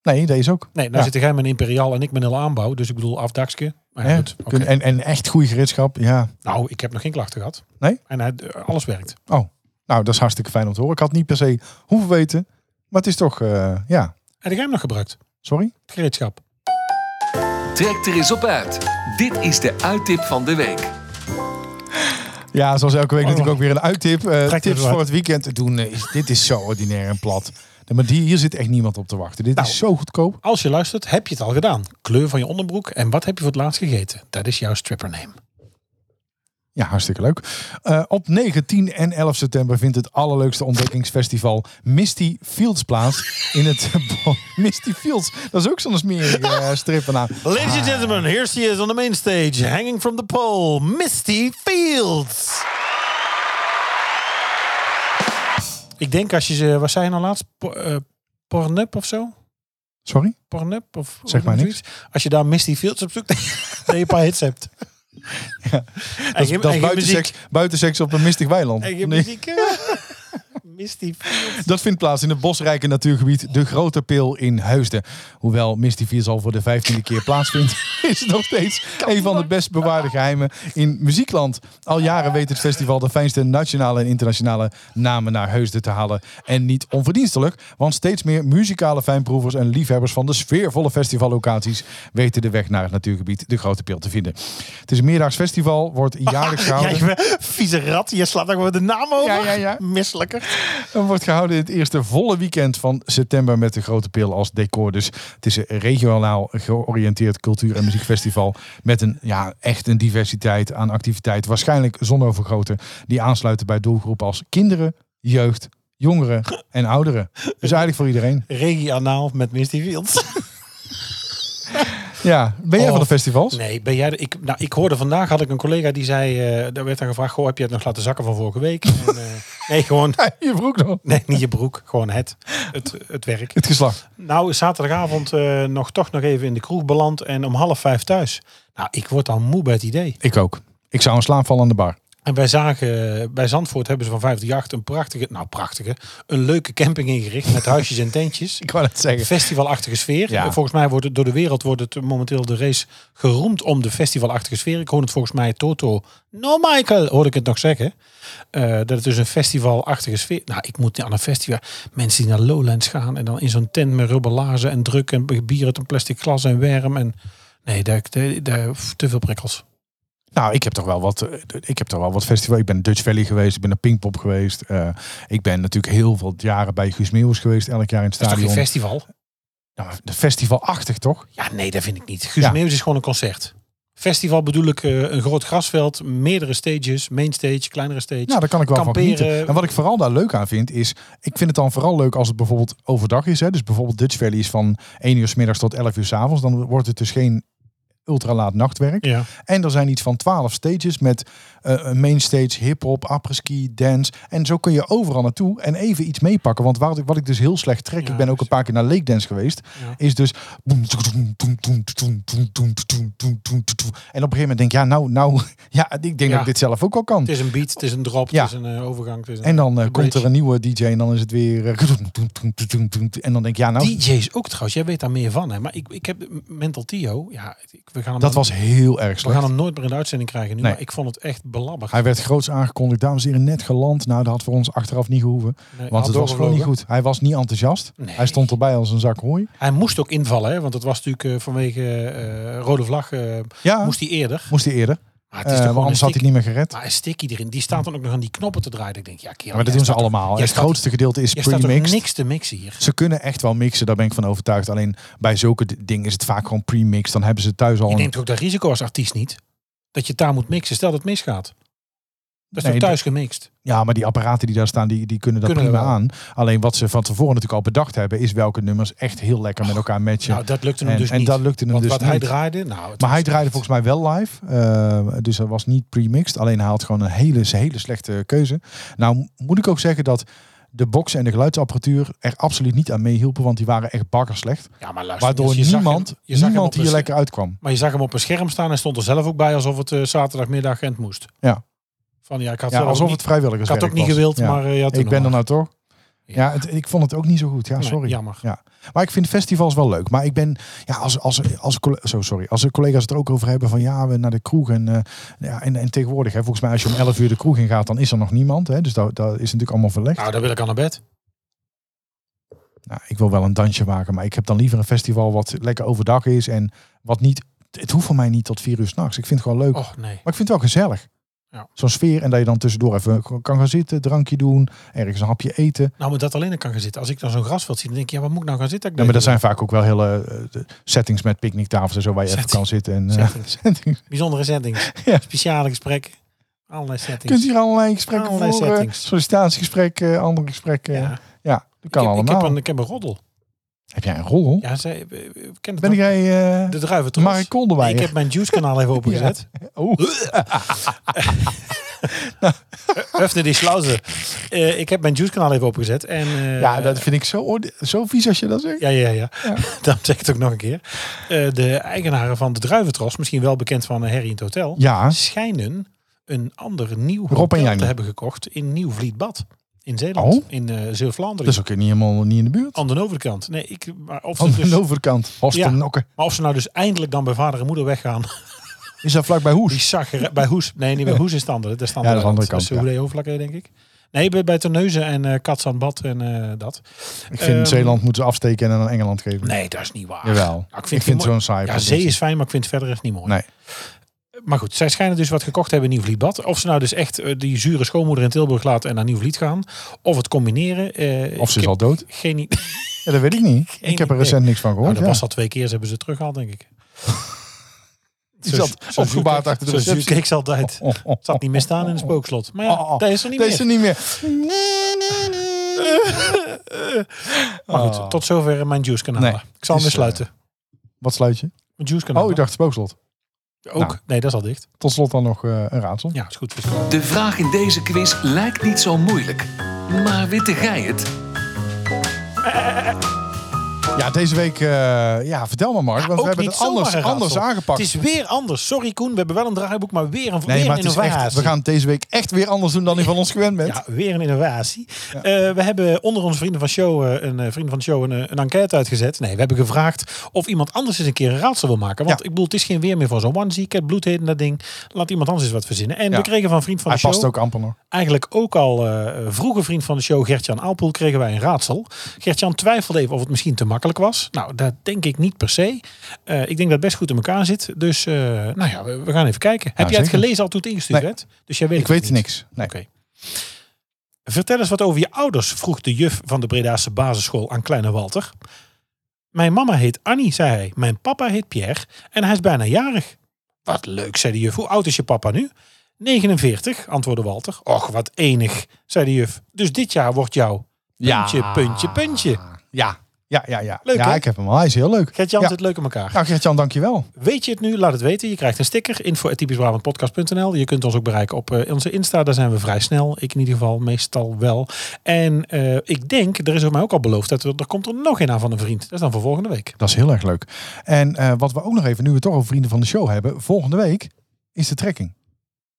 [SPEAKER 2] Nee, deze ook.
[SPEAKER 3] Nee, nou
[SPEAKER 2] Ja.
[SPEAKER 3] zitten jij met een imperiaal en ik met een aanbouw. Dus ik bedoel afdakske. Maar ja,
[SPEAKER 2] Hè?
[SPEAKER 3] goed, oké.
[SPEAKER 2] Kun- en, en echt goede gereedschap, ja.
[SPEAKER 3] Nou, ik heb nog geen klachten gehad.
[SPEAKER 2] Nee?
[SPEAKER 3] En hij- eh, alles werkt.
[SPEAKER 2] Nou, dat is hartstikke fijn om te horen. Ik had niet per se hoeven weten. Maar het is toch, eh, ja.
[SPEAKER 3] En ik heb hem nog gebruikt.
[SPEAKER 2] Sorry?
[SPEAKER 3] Het Gereedschap.
[SPEAKER 1] Trek er eens op uit. Dit is de uittip van de week.
[SPEAKER 2] Ja, zoals elke week
[SPEAKER 3] Oh.
[SPEAKER 2] natuurlijk ook weer een uittip. Eh,
[SPEAKER 3] Trek
[SPEAKER 2] tips
[SPEAKER 3] het uit.
[SPEAKER 2] voor het weekend te doen. Eh, is- dit is zo ordinair en plat. Nee, maar die, hier zit echt niemand op te wachten. Dit
[SPEAKER 3] Nou.
[SPEAKER 2] is zo goedkoop.
[SPEAKER 3] Als je luistert, heb je het al gedaan. Kleur van je onderbroek en wat heb je voor het laatst gegeten? Dat is jouw strippername.
[SPEAKER 2] Ja, hartstikke leuk. Eh, op 9, 10 en 11 september vindt het allerleukste ontdekkingsfestival Misty Fields plaats. In het Misty Fields. Dat is ook zo'n smerige eh, strippennaam.
[SPEAKER 3] Ladies and gentlemen, here she is on the main stage, hanging from the pole, Misty Fields. Ik denk als je ze, wat zei je nou laatst? Po- eh, Pornhub of zo?
[SPEAKER 2] Sorry?
[SPEAKER 3] Pornhub of
[SPEAKER 2] Zeg maar niks.
[SPEAKER 3] zoiets. Als je daar Misty Fields op zoekt, dat je een paar hits hebt. Ja,
[SPEAKER 2] Dat, is- dat is buiten seks, buiten seks op een mistig weiland.
[SPEAKER 3] En je
[SPEAKER 2] Nee.
[SPEAKER 3] muziek. eh, Misty Fields.
[SPEAKER 2] Dat vindt plaats in het bosrijke natuurgebied De Grote Pil in Heusden. Hoewel Misty 4 al voor de vijftiende keer plaatsvindt, is het nog steeds een van de best bewaarde geheimen in muziekland. Al jaren weet het festival de fijnste nationale en internationale namen naar Heusden te halen. En niet onverdienstelijk, want steeds meer muzikale fijnproevers en liefhebbers van de sfeervolle festivallocaties weten de weg naar het natuurgebied De Grote Pil te vinden. Het is een meerdaags festival, wordt jaarlijks gehouden.
[SPEAKER 3] Ja, je vieze rat, je slaat nog wel de naam over.
[SPEAKER 2] Ja, ja, ja.
[SPEAKER 3] Misselijker.
[SPEAKER 2] En wordt gehouden in het eerste volle weekend van september met de Grote Pil als decor. Dus het is een regionaal georiënteerd cultuur- en muziekfestival. Met een, ja, echt een diversiteit aan activiteiten. Waarschijnlijk zonovergroten die aansluiten bij doelgroepen als kinderen, jeugd, jongeren en ouderen. Dus eigenlijk voor iedereen.
[SPEAKER 3] Regionaal met Misty Fields.
[SPEAKER 2] Ja, ben jij
[SPEAKER 3] Oh.
[SPEAKER 2] van de festivals?
[SPEAKER 3] Nee, ben jij de- ik, nou, ik hoorde vandaag, had ik een collega die zei, eh daar werd dan gevraagd, goh, heb je het nog laten zakken van vorige week? En, eh, nee, gewoon,
[SPEAKER 2] Je broek nog.
[SPEAKER 3] nee, niet je broek, gewoon het, het, het werk.
[SPEAKER 2] Het geslacht.
[SPEAKER 3] Nou, zaterdagavond eh, nog toch nog even in de kroeg beland en om half vijf thuis. Nou, ik word al moe bij het idee.
[SPEAKER 2] Ik ook. Ik zou een slaanval aan de bar.
[SPEAKER 3] En wij zagen, eh, bij Zandvoort hebben ze van 538 een prachtige, nou prachtige, een leuke camping ingericht met huisjes en tentjes.
[SPEAKER 2] Ik wou het zeggen.
[SPEAKER 3] festivalachtige sfeer.
[SPEAKER 2] Ja.
[SPEAKER 3] Eh, Volgens mij wordt het door de wereld wordt het momenteel de race geroemd om de festivalachtige sfeer. Ik hoor het volgens mij Toto. No Michael, hoor ik het nog zeggen. Eh, dat het dus een festivalachtige sfeer. Nou, ik moet aan een festival. Mensen die naar Lowlands gaan en dan in zo'n tent met rubberlazen en druk en bier uit een plastic glas en werm en nee, daar, daar, daar pff, te veel prikkels.
[SPEAKER 2] Nou, ik heb toch wel wat. eh, Ik heb toch wel wat festival. Ik ben Dutch Valley geweest. Ik ben naar Pinkpop geweest. eh, ik ben natuurlijk heel veel jaren bij Guus Meeuwis geweest. Elk jaar in het
[SPEAKER 3] Dat is toch
[SPEAKER 2] stadion.
[SPEAKER 3] geen festival?
[SPEAKER 2] Nou, maar de festivalachtig toch?
[SPEAKER 3] Ja, nee, dat vind ik niet. Guus
[SPEAKER 2] Ja.
[SPEAKER 3] Meeuwis is gewoon een concert. Festival bedoel ik eh, een groot grasveld, meerdere stages, main stage, kleinere stage.
[SPEAKER 2] Nou, daar kan ik wel van
[SPEAKER 3] Kamperen.
[SPEAKER 2] genieten. En wat ik vooral daar leuk aan vind, is... Ik vind het dan vooral leuk als het bijvoorbeeld overdag is. Hè? Dus bijvoorbeeld Dutch Valley is van 1 uur s middags tot 11 uur s avonds. Dan wordt het dus geen ultralaat nachtwerk.
[SPEAKER 3] Ja.
[SPEAKER 2] En er zijn iets van 12 stages met eh, een main stage, hip-hop, apres-ski, dance. En zo kun je overal naartoe en even iets meepakken. Want wat ik, wat ik dus heel slecht trek,
[SPEAKER 3] Ja,
[SPEAKER 2] ik ben ook een paar keer naar Lake Dance geweest,
[SPEAKER 3] Ja.
[SPEAKER 2] is dus. En op een gegeven moment denk ik, ja, nou, nou, ja, ik denk
[SPEAKER 3] Ja.
[SPEAKER 2] dat ik dit zelf ook al kan.
[SPEAKER 3] Het is een beat, het is een drop,
[SPEAKER 2] Ja.
[SPEAKER 3] het is een eh, overgang. Het is een
[SPEAKER 2] En dan eh, komt er
[SPEAKER 3] bridge.
[SPEAKER 2] een nieuwe DJ en dan is het weer. eh, En dan denk ik, ja, nou,
[SPEAKER 3] DJ's ook trouwens, jij weet daar meer van. Hè? Maar ik, ik heb Mental Tio, ja, ik- we gaan hem
[SPEAKER 2] dat was heel erg
[SPEAKER 3] We gaan
[SPEAKER 2] slecht.
[SPEAKER 3] hem nooit meer in de uitzending krijgen nu,
[SPEAKER 2] Nee.
[SPEAKER 3] maar ik vond het echt belabberd.
[SPEAKER 2] Hij werd groots aangekondigd, dames en heren, net geland. Nou, dat had voor ons achteraf niet gehoeven.
[SPEAKER 3] Nee,
[SPEAKER 2] Want het
[SPEAKER 3] had
[SPEAKER 2] was gewoon niet
[SPEAKER 3] doorgevlogen.
[SPEAKER 2] goed. Hij was niet enthousiast.
[SPEAKER 3] Nee.
[SPEAKER 2] Hij stond erbij als een zak hooi.
[SPEAKER 3] Hij moest ook invallen, hè? want het was natuurlijk eh, vanwege eh, rode vlag, eh,
[SPEAKER 2] Ja, moest,
[SPEAKER 3] moest hij eerder.
[SPEAKER 2] hij eerder.
[SPEAKER 3] Maar het
[SPEAKER 2] Eh
[SPEAKER 3] is toch
[SPEAKER 2] want
[SPEAKER 3] gewoon
[SPEAKER 2] anders
[SPEAKER 3] een
[SPEAKER 2] had hij
[SPEAKER 3] stick,
[SPEAKER 2] het niet meer gered.
[SPEAKER 3] maar een stickie erin, die staat dan ook nog aan die knoppen te draaien. Ik denk, ja, kerel,
[SPEAKER 2] maar dat
[SPEAKER 3] jij
[SPEAKER 2] doen ze
[SPEAKER 3] staat toch-
[SPEAKER 2] allemaal.
[SPEAKER 3] jij
[SPEAKER 2] Het
[SPEAKER 3] staat-
[SPEAKER 2] grootste gedeelte is
[SPEAKER 3] Jij staat toch
[SPEAKER 2] pre-mixed.
[SPEAKER 3] niks te mixen hier?
[SPEAKER 2] Ze kunnen echt wel mixen, daar ben ik van overtuigd. Alleen bij zulke d- dingen is het vaak gewoon pre-mixed. Dan hebben ze thuis al
[SPEAKER 3] Je
[SPEAKER 2] een...
[SPEAKER 3] neemt ook dat risico als artiest niet. Dat je het daar moet mixen. Stel dat het misgaat. Dat is
[SPEAKER 2] Nee,
[SPEAKER 3] toch thuis gemixt.
[SPEAKER 2] Ja, maar die apparaten die daar staan, die, die kunnen dat
[SPEAKER 3] Kunnen
[SPEAKER 2] prima
[SPEAKER 3] wel.
[SPEAKER 2] aan. Alleen wat ze van tevoren natuurlijk al bedacht hebben... is welke nummers echt heel lekker met elkaar matchen.
[SPEAKER 3] Nou, dat lukte hem
[SPEAKER 2] en
[SPEAKER 3] dus
[SPEAKER 2] en
[SPEAKER 3] niet.
[SPEAKER 2] dat lukte hem
[SPEAKER 3] Want
[SPEAKER 2] dus
[SPEAKER 3] wat
[SPEAKER 2] niet.
[SPEAKER 3] hij draaide, nou...
[SPEAKER 2] maar hij draaide volgens mij wel live. eh, dus dat was niet pre-mixed. Alleen hij had gewoon een hele, hele slechte keuze. Nou moet ik ook zeggen dat de box en de geluidsapparatuur er absoluut niet aan meehielpen. Want die waren echt bakkerslecht.
[SPEAKER 3] Ja, maar luister, dus
[SPEAKER 2] Waardoor
[SPEAKER 3] je zag hem-
[SPEAKER 2] niemand,
[SPEAKER 3] je zag hem op
[SPEAKER 2] niemand
[SPEAKER 3] een-
[SPEAKER 2] hier lekker uitkwam.
[SPEAKER 3] Maar je zag hem op een scherm staan en stond er zelf ook bij alsof het eh, zaterdagmiddag en het moest.
[SPEAKER 2] Ja.
[SPEAKER 3] Van ja, ik had
[SPEAKER 2] Ja,
[SPEAKER 3] zelf ook
[SPEAKER 2] alsof
[SPEAKER 3] niet-
[SPEAKER 2] het vrijwilligers
[SPEAKER 3] ik had ook niet
[SPEAKER 2] was.
[SPEAKER 3] gewild,
[SPEAKER 2] Ja.
[SPEAKER 3] maar eh, ja, toen
[SPEAKER 2] ik ben
[SPEAKER 3] al.
[SPEAKER 2] er nou toch?
[SPEAKER 3] Ja.
[SPEAKER 2] Ja, het, ik vond het ook niet zo goed. Ja,
[SPEAKER 3] Nee,
[SPEAKER 2] sorry.
[SPEAKER 3] jammer.
[SPEAKER 2] Ja. Maar ik vind festivals wel leuk. Maar ik ben, ja, als, als, als, colle- zo, sorry, als de collega's het er ook over hebben van ja, we naar de kroeg. En, eh, ja, en, en tegenwoordig, hè, volgens mij als je om 11 uur de kroeg in gaat, dan is er nog niemand. Hè, dus dat, dat is natuurlijk allemaal verlegd.
[SPEAKER 3] Nou, dan wil ik aan naar bed.
[SPEAKER 2] Nou, ik wil wel een dansje maken, maar ik heb dan liever een festival wat lekker overdag is. En wat niet, het hoeft voor mij niet tot vier uur s'nachts. Ik vind het gewoon leuk.
[SPEAKER 3] Oh nee.
[SPEAKER 2] Maar ik vind het wel gezellig.
[SPEAKER 3] Ja.
[SPEAKER 2] Zo'n sfeer en dat je dan tussendoor even kan gaan zitten, drankje doen, ergens een hapje eten.
[SPEAKER 3] Nou, maar dat alleen kan gaan zitten. Als ik dan zo'n grasveld zie, dan denk ik, ja, waar moet ik nou gaan zitten? Ik
[SPEAKER 2] Ja, maar dat
[SPEAKER 3] denk,
[SPEAKER 2] zijn vaak ook wel hele eh, de settings met picknicktafels en zo waar je even kan
[SPEAKER 3] Settings.
[SPEAKER 2] zitten. En, eh,
[SPEAKER 3] Settings.
[SPEAKER 2] settings.
[SPEAKER 3] bijzondere settings.
[SPEAKER 2] Ja.
[SPEAKER 3] Speciale gesprekken. Allerlei
[SPEAKER 2] Je kunt
[SPEAKER 3] settings.
[SPEAKER 2] hier allerlei gesprekken
[SPEAKER 3] Allerlei
[SPEAKER 2] voeren.
[SPEAKER 3] settings.
[SPEAKER 2] Sollicitatiegesprekken, andere gesprekken. Ja,
[SPEAKER 3] Ja.
[SPEAKER 2] dat kan
[SPEAKER 3] Ik heb, ik,
[SPEAKER 2] allemaal.
[SPEAKER 3] heb
[SPEAKER 2] Heb,
[SPEAKER 3] een, ik heb een roddel.
[SPEAKER 2] jij een rol?
[SPEAKER 3] Ja, zij, eh, eh, ken het
[SPEAKER 2] Ben
[SPEAKER 3] nog?
[SPEAKER 2] jij eh,
[SPEAKER 3] de druiven
[SPEAKER 2] Mark Kolderweijer?
[SPEAKER 3] Ik Eh, heb mijn juice kanaal even opengezet.
[SPEAKER 2] Oh,
[SPEAKER 3] Öffne die Schlauze. Eh, ik heb mijn juice kanaal even opengezet. En, eh,
[SPEAKER 2] ja, dat vind ik zo, oorde- zo vies als je dat zegt.
[SPEAKER 3] Ja, ja, ja.
[SPEAKER 2] Ja.
[SPEAKER 3] Dan zeg ik het ook nog een keer. Eh, de eigenaren van de Druiventros, misschien wel bekend van eh, Harry in het Hotel,
[SPEAKER 2] Ja,
[SPEAKER 3] schijnen een ander nieuw
[SPEAKER 2] en
[SPEAKER 3] hotel
[SPEAKER 2] Janne.
[SPEAKER 3] te hebben gekocht in Nieuw-Vlietbad. In Zeeland.
[SPEAKER 2] Oh.
[SPEAKER 3] In eh Zeeuw-Vlaanderen.
[SPEAKER 2] dat is ook niet helemaal niet in de buurt.
[SPEAKER 3] Aan de overkant. Nee, ik, maar, of
[SPEAKER 2] Aan
[SPEAKER 3] ze dus,
[SPEAKER 2] de overkant, Horsten
[SPEAKER 3] Ja.
[SPEAKER 2] Nokken.
[SPEAKER 3] maar of ze nou dus eindelijk dan bij vader en moeder weggaan.
[SPEAKER 2] Is dat vlakbij Hoes?
[SPEAKER 3] Die zagger bij Hoes. Nee, niet bij Hoes is het andere. Daar staan
[SPEAKER 2] Ja, dat is
[SPEAKER 3] de
[SPEAKER 2] andere kant,
[SPEAKER 3] Dus hoe hoofdvlakken, denk ik. Nee, bij, bij Terneuzen en eh Katzandbad en eh, dat.
[SPEAKER 2] Ik vind
[SPEAKER 3] Ehm,
[SPEAKER 2] Zeeland moeten ze afsteken en aan Engeland geven.
[SPEAKER 3] Nee, dat is niet waar.
[SPEAKER 2] Jawel.
[SPEAKER 3] Nou,
[SPEAKER 2] ik vind,
[SPEAKER 3] het mooi.
[SPEAKER 2] zo'n saai.
[SPEAKER 3] Ja, zee is fijn, maar ik vind het verder echt niet mooi.
[SPEAKER 2] Nee.
[SPEAKER 3] Maar goed, zij schijnen dus wat gekocht hebben in Nieuw-Vlietbad. Of ze nou dus echt eh, die zure schoonmoeder in Tilburg laten en naar Nieuw-Vliet gaan. Of het combineren. eh,
[SPEAKER 2] Of ze
[SPEAKER 3] ik
[SPEAKER 2] is al
[SPEAKER 3] heb
[SPEAKER 2] dood.
[SPEAKER 3] Geen idee.
[SPEAKER 2] Ja, dat weet ik niet. Ik heb er
[SPEAKER 3] idee.
[SPEAKER 2] recent niks van
[SPEAKER 3] Nou,
[SPEAKER 2] gehoord.
[SPEAKER 3] dat
[SPEAKER 2] ja.
[SPEAKER 3] was al twee keer, ze hebben ze teruggehaald, denk ik.
[SPEAKER 2] Die zat opgebaard achter de
[SPEAKER 3] receptie.
[SPEAKER 2] receptie.
[SPEAKER 3] keek ze altijd.
[SPEAKER 2] Oh, oh, oh.
[SPEAKER 3] Zat niet meer staan in het spookslot. Maar ja,
[SPEAKER 2] Oh, oh.
[SPEAKER 3] dat is er niet
[SPEAKER 2] Deze
[SPEAKER 3] meer.
[SPEAKER 2] niet meer.
[SPEAKER 3] Maar goed, tot zover mijn juice kanaal.
[SPEAKER 2] Ah. Nee,
[SPEAKER 3] ik zal hem weer
[SPEAKER 2] is, eh,
[SPEAKER 3] sluiten.
[SPEAKER 2] Wat sluit je?
[SPEAKER 3] Mijn juice kanaal.
[SPEAKER 2] Oh, ik dacht spookslot.
[SPEAKER 3] ook.
[SPEAKER 2] nou.
[SPEAKER 3] Nee, dat is al dicht.
[SPEAKER 2] Tot slot dan nog eh, een raadsel.
[SPEAKER 3] Ja, is goed.
[SPEAKER 1] De vraag in deze quiz lijkt niet zo moeilijk. Maar witte gij het?
[SPEAKER 2] Ja, deze week... eh, ja, vertel maar Mark. want we
[SPEAKER 3] Ook
[SPEAKER 2] hebben
[SPEAKER 3] niet
[SPEAKER 2] het
[SPEAKER 3] zomaar
[SPEAKER 2] anders,
[SPEAKER 3] een raadsel.
[SPEAKER 2] anders aangepakt.
[SPEAKER 3] Het is weer anders. Sorry Koen, we hebben wel een draaiboek, maar weer een,
[SPEAKER 2] nee,
[SPEAKER 3] weer
[SPEAKER 2] maar
[SPEAKER 3] een
[SPEAKER 2] het is echt,
[SPEAKER 3] innovatie.
[SPEAKER 2] we gaan het deze week echt weer anders doen dan je van ons gewend bent.
[SPEAKER 3] Ja, weer een innovatie. Eh, we hebben onder onze vrienden van show, eh, een eh, vrienden van de show een, eh, een enquête uitgezet. Nee, we hebben gevraagd of iemand anders eens een keer een raadsel wil maken. Want
[SPEAKER 2] Ja.
[SPEAKER 3] ik bedoel, het is geen weer meer voor zo'n onesie. Ik heb bloedheet en dat ding. Laat iemand anders eens wat verzinnen. En
[SPEAKER 2] Ja.
[SPEAKER 3] we kregen van vriend van
[SPEAKER 2] Hij
[SPEAKER 3] de show.
[SPEAKER 2] past ook amper nog.
[SPEAKER 3] eigenlijk ook al eh vroege vriend van de show, Gertjan Aalpoel, kregen wij een raadsel. Gertjan twijfelde even of het misschien te makkelijk was. Nou, dat denk ik niet per se. Eh, ik denk dat het best goed in elkaar zit. Dus, eh, nou ja, we, we gaan even kijken. Heb jij
[SPEAKER 2] zeker.
[SPEAKER 3] het gelezen al toen het ingestuurd
[SPEAKER 2] Nee.
[SPEAKER 3] werd? Dus jij weet
[SPEAKER 2] Ik
[SPEAKER 3] het
[SPEAKER 2] weet
[SPEAKER 3] niet.
[SPEAKER 2] niks. Nee.
[SPEAKER 3] Oké. Vertel eens wat over je ouders, vroeg de juf van de Bredaanse basisschool aan kleine Walter. Mijn mama heet Annie, zei hij. Mijn papa heet Pierre en hij is bijna jarig. Wat leuk, zei de juf. Hoe oud is je papa nu? 49, antwoordde Walter. Och, wat enig, zei de juf. Dus dit jaar wordt jouw puntje, puntje, puntje.
[SPEAKER 2] Ja. Ja, ja, ja.
[SPEAKER 3] Leuk,
[SPEAKER 2] ja,
[SPEAKER 3] hè?
[SPEAKER 2] ik heb hem al. Hij is heel leuk.
[SPEAKER 3] Gert-Jan
[SPEAKER 2] ja.
[SPEAKER 3] zit leuk in elkaar.
[SPEAKER 2] Nou, Gert-Jan, dankjewel.
[SPEAKER 3] Weet je het nu? Laat het weten. Je krijgt een sticker. Info typischbrabantpodcast.nl. Je kunt ons ook bereiken op eh, onze Insta. Daar zijn we vrij snel. Ik in ieder geval meestal wel. En eh, ik denk, er is mij ook al beloofd, dat we, er komt er nog een aan van een vriend. Dat is dan voor volgende week.
[SPEAKER 2] Dat is heel erg leuk. En eh, wat we ook nog even, nu we het toch over vrienden van de show hebben, volgende week is de trekking. Van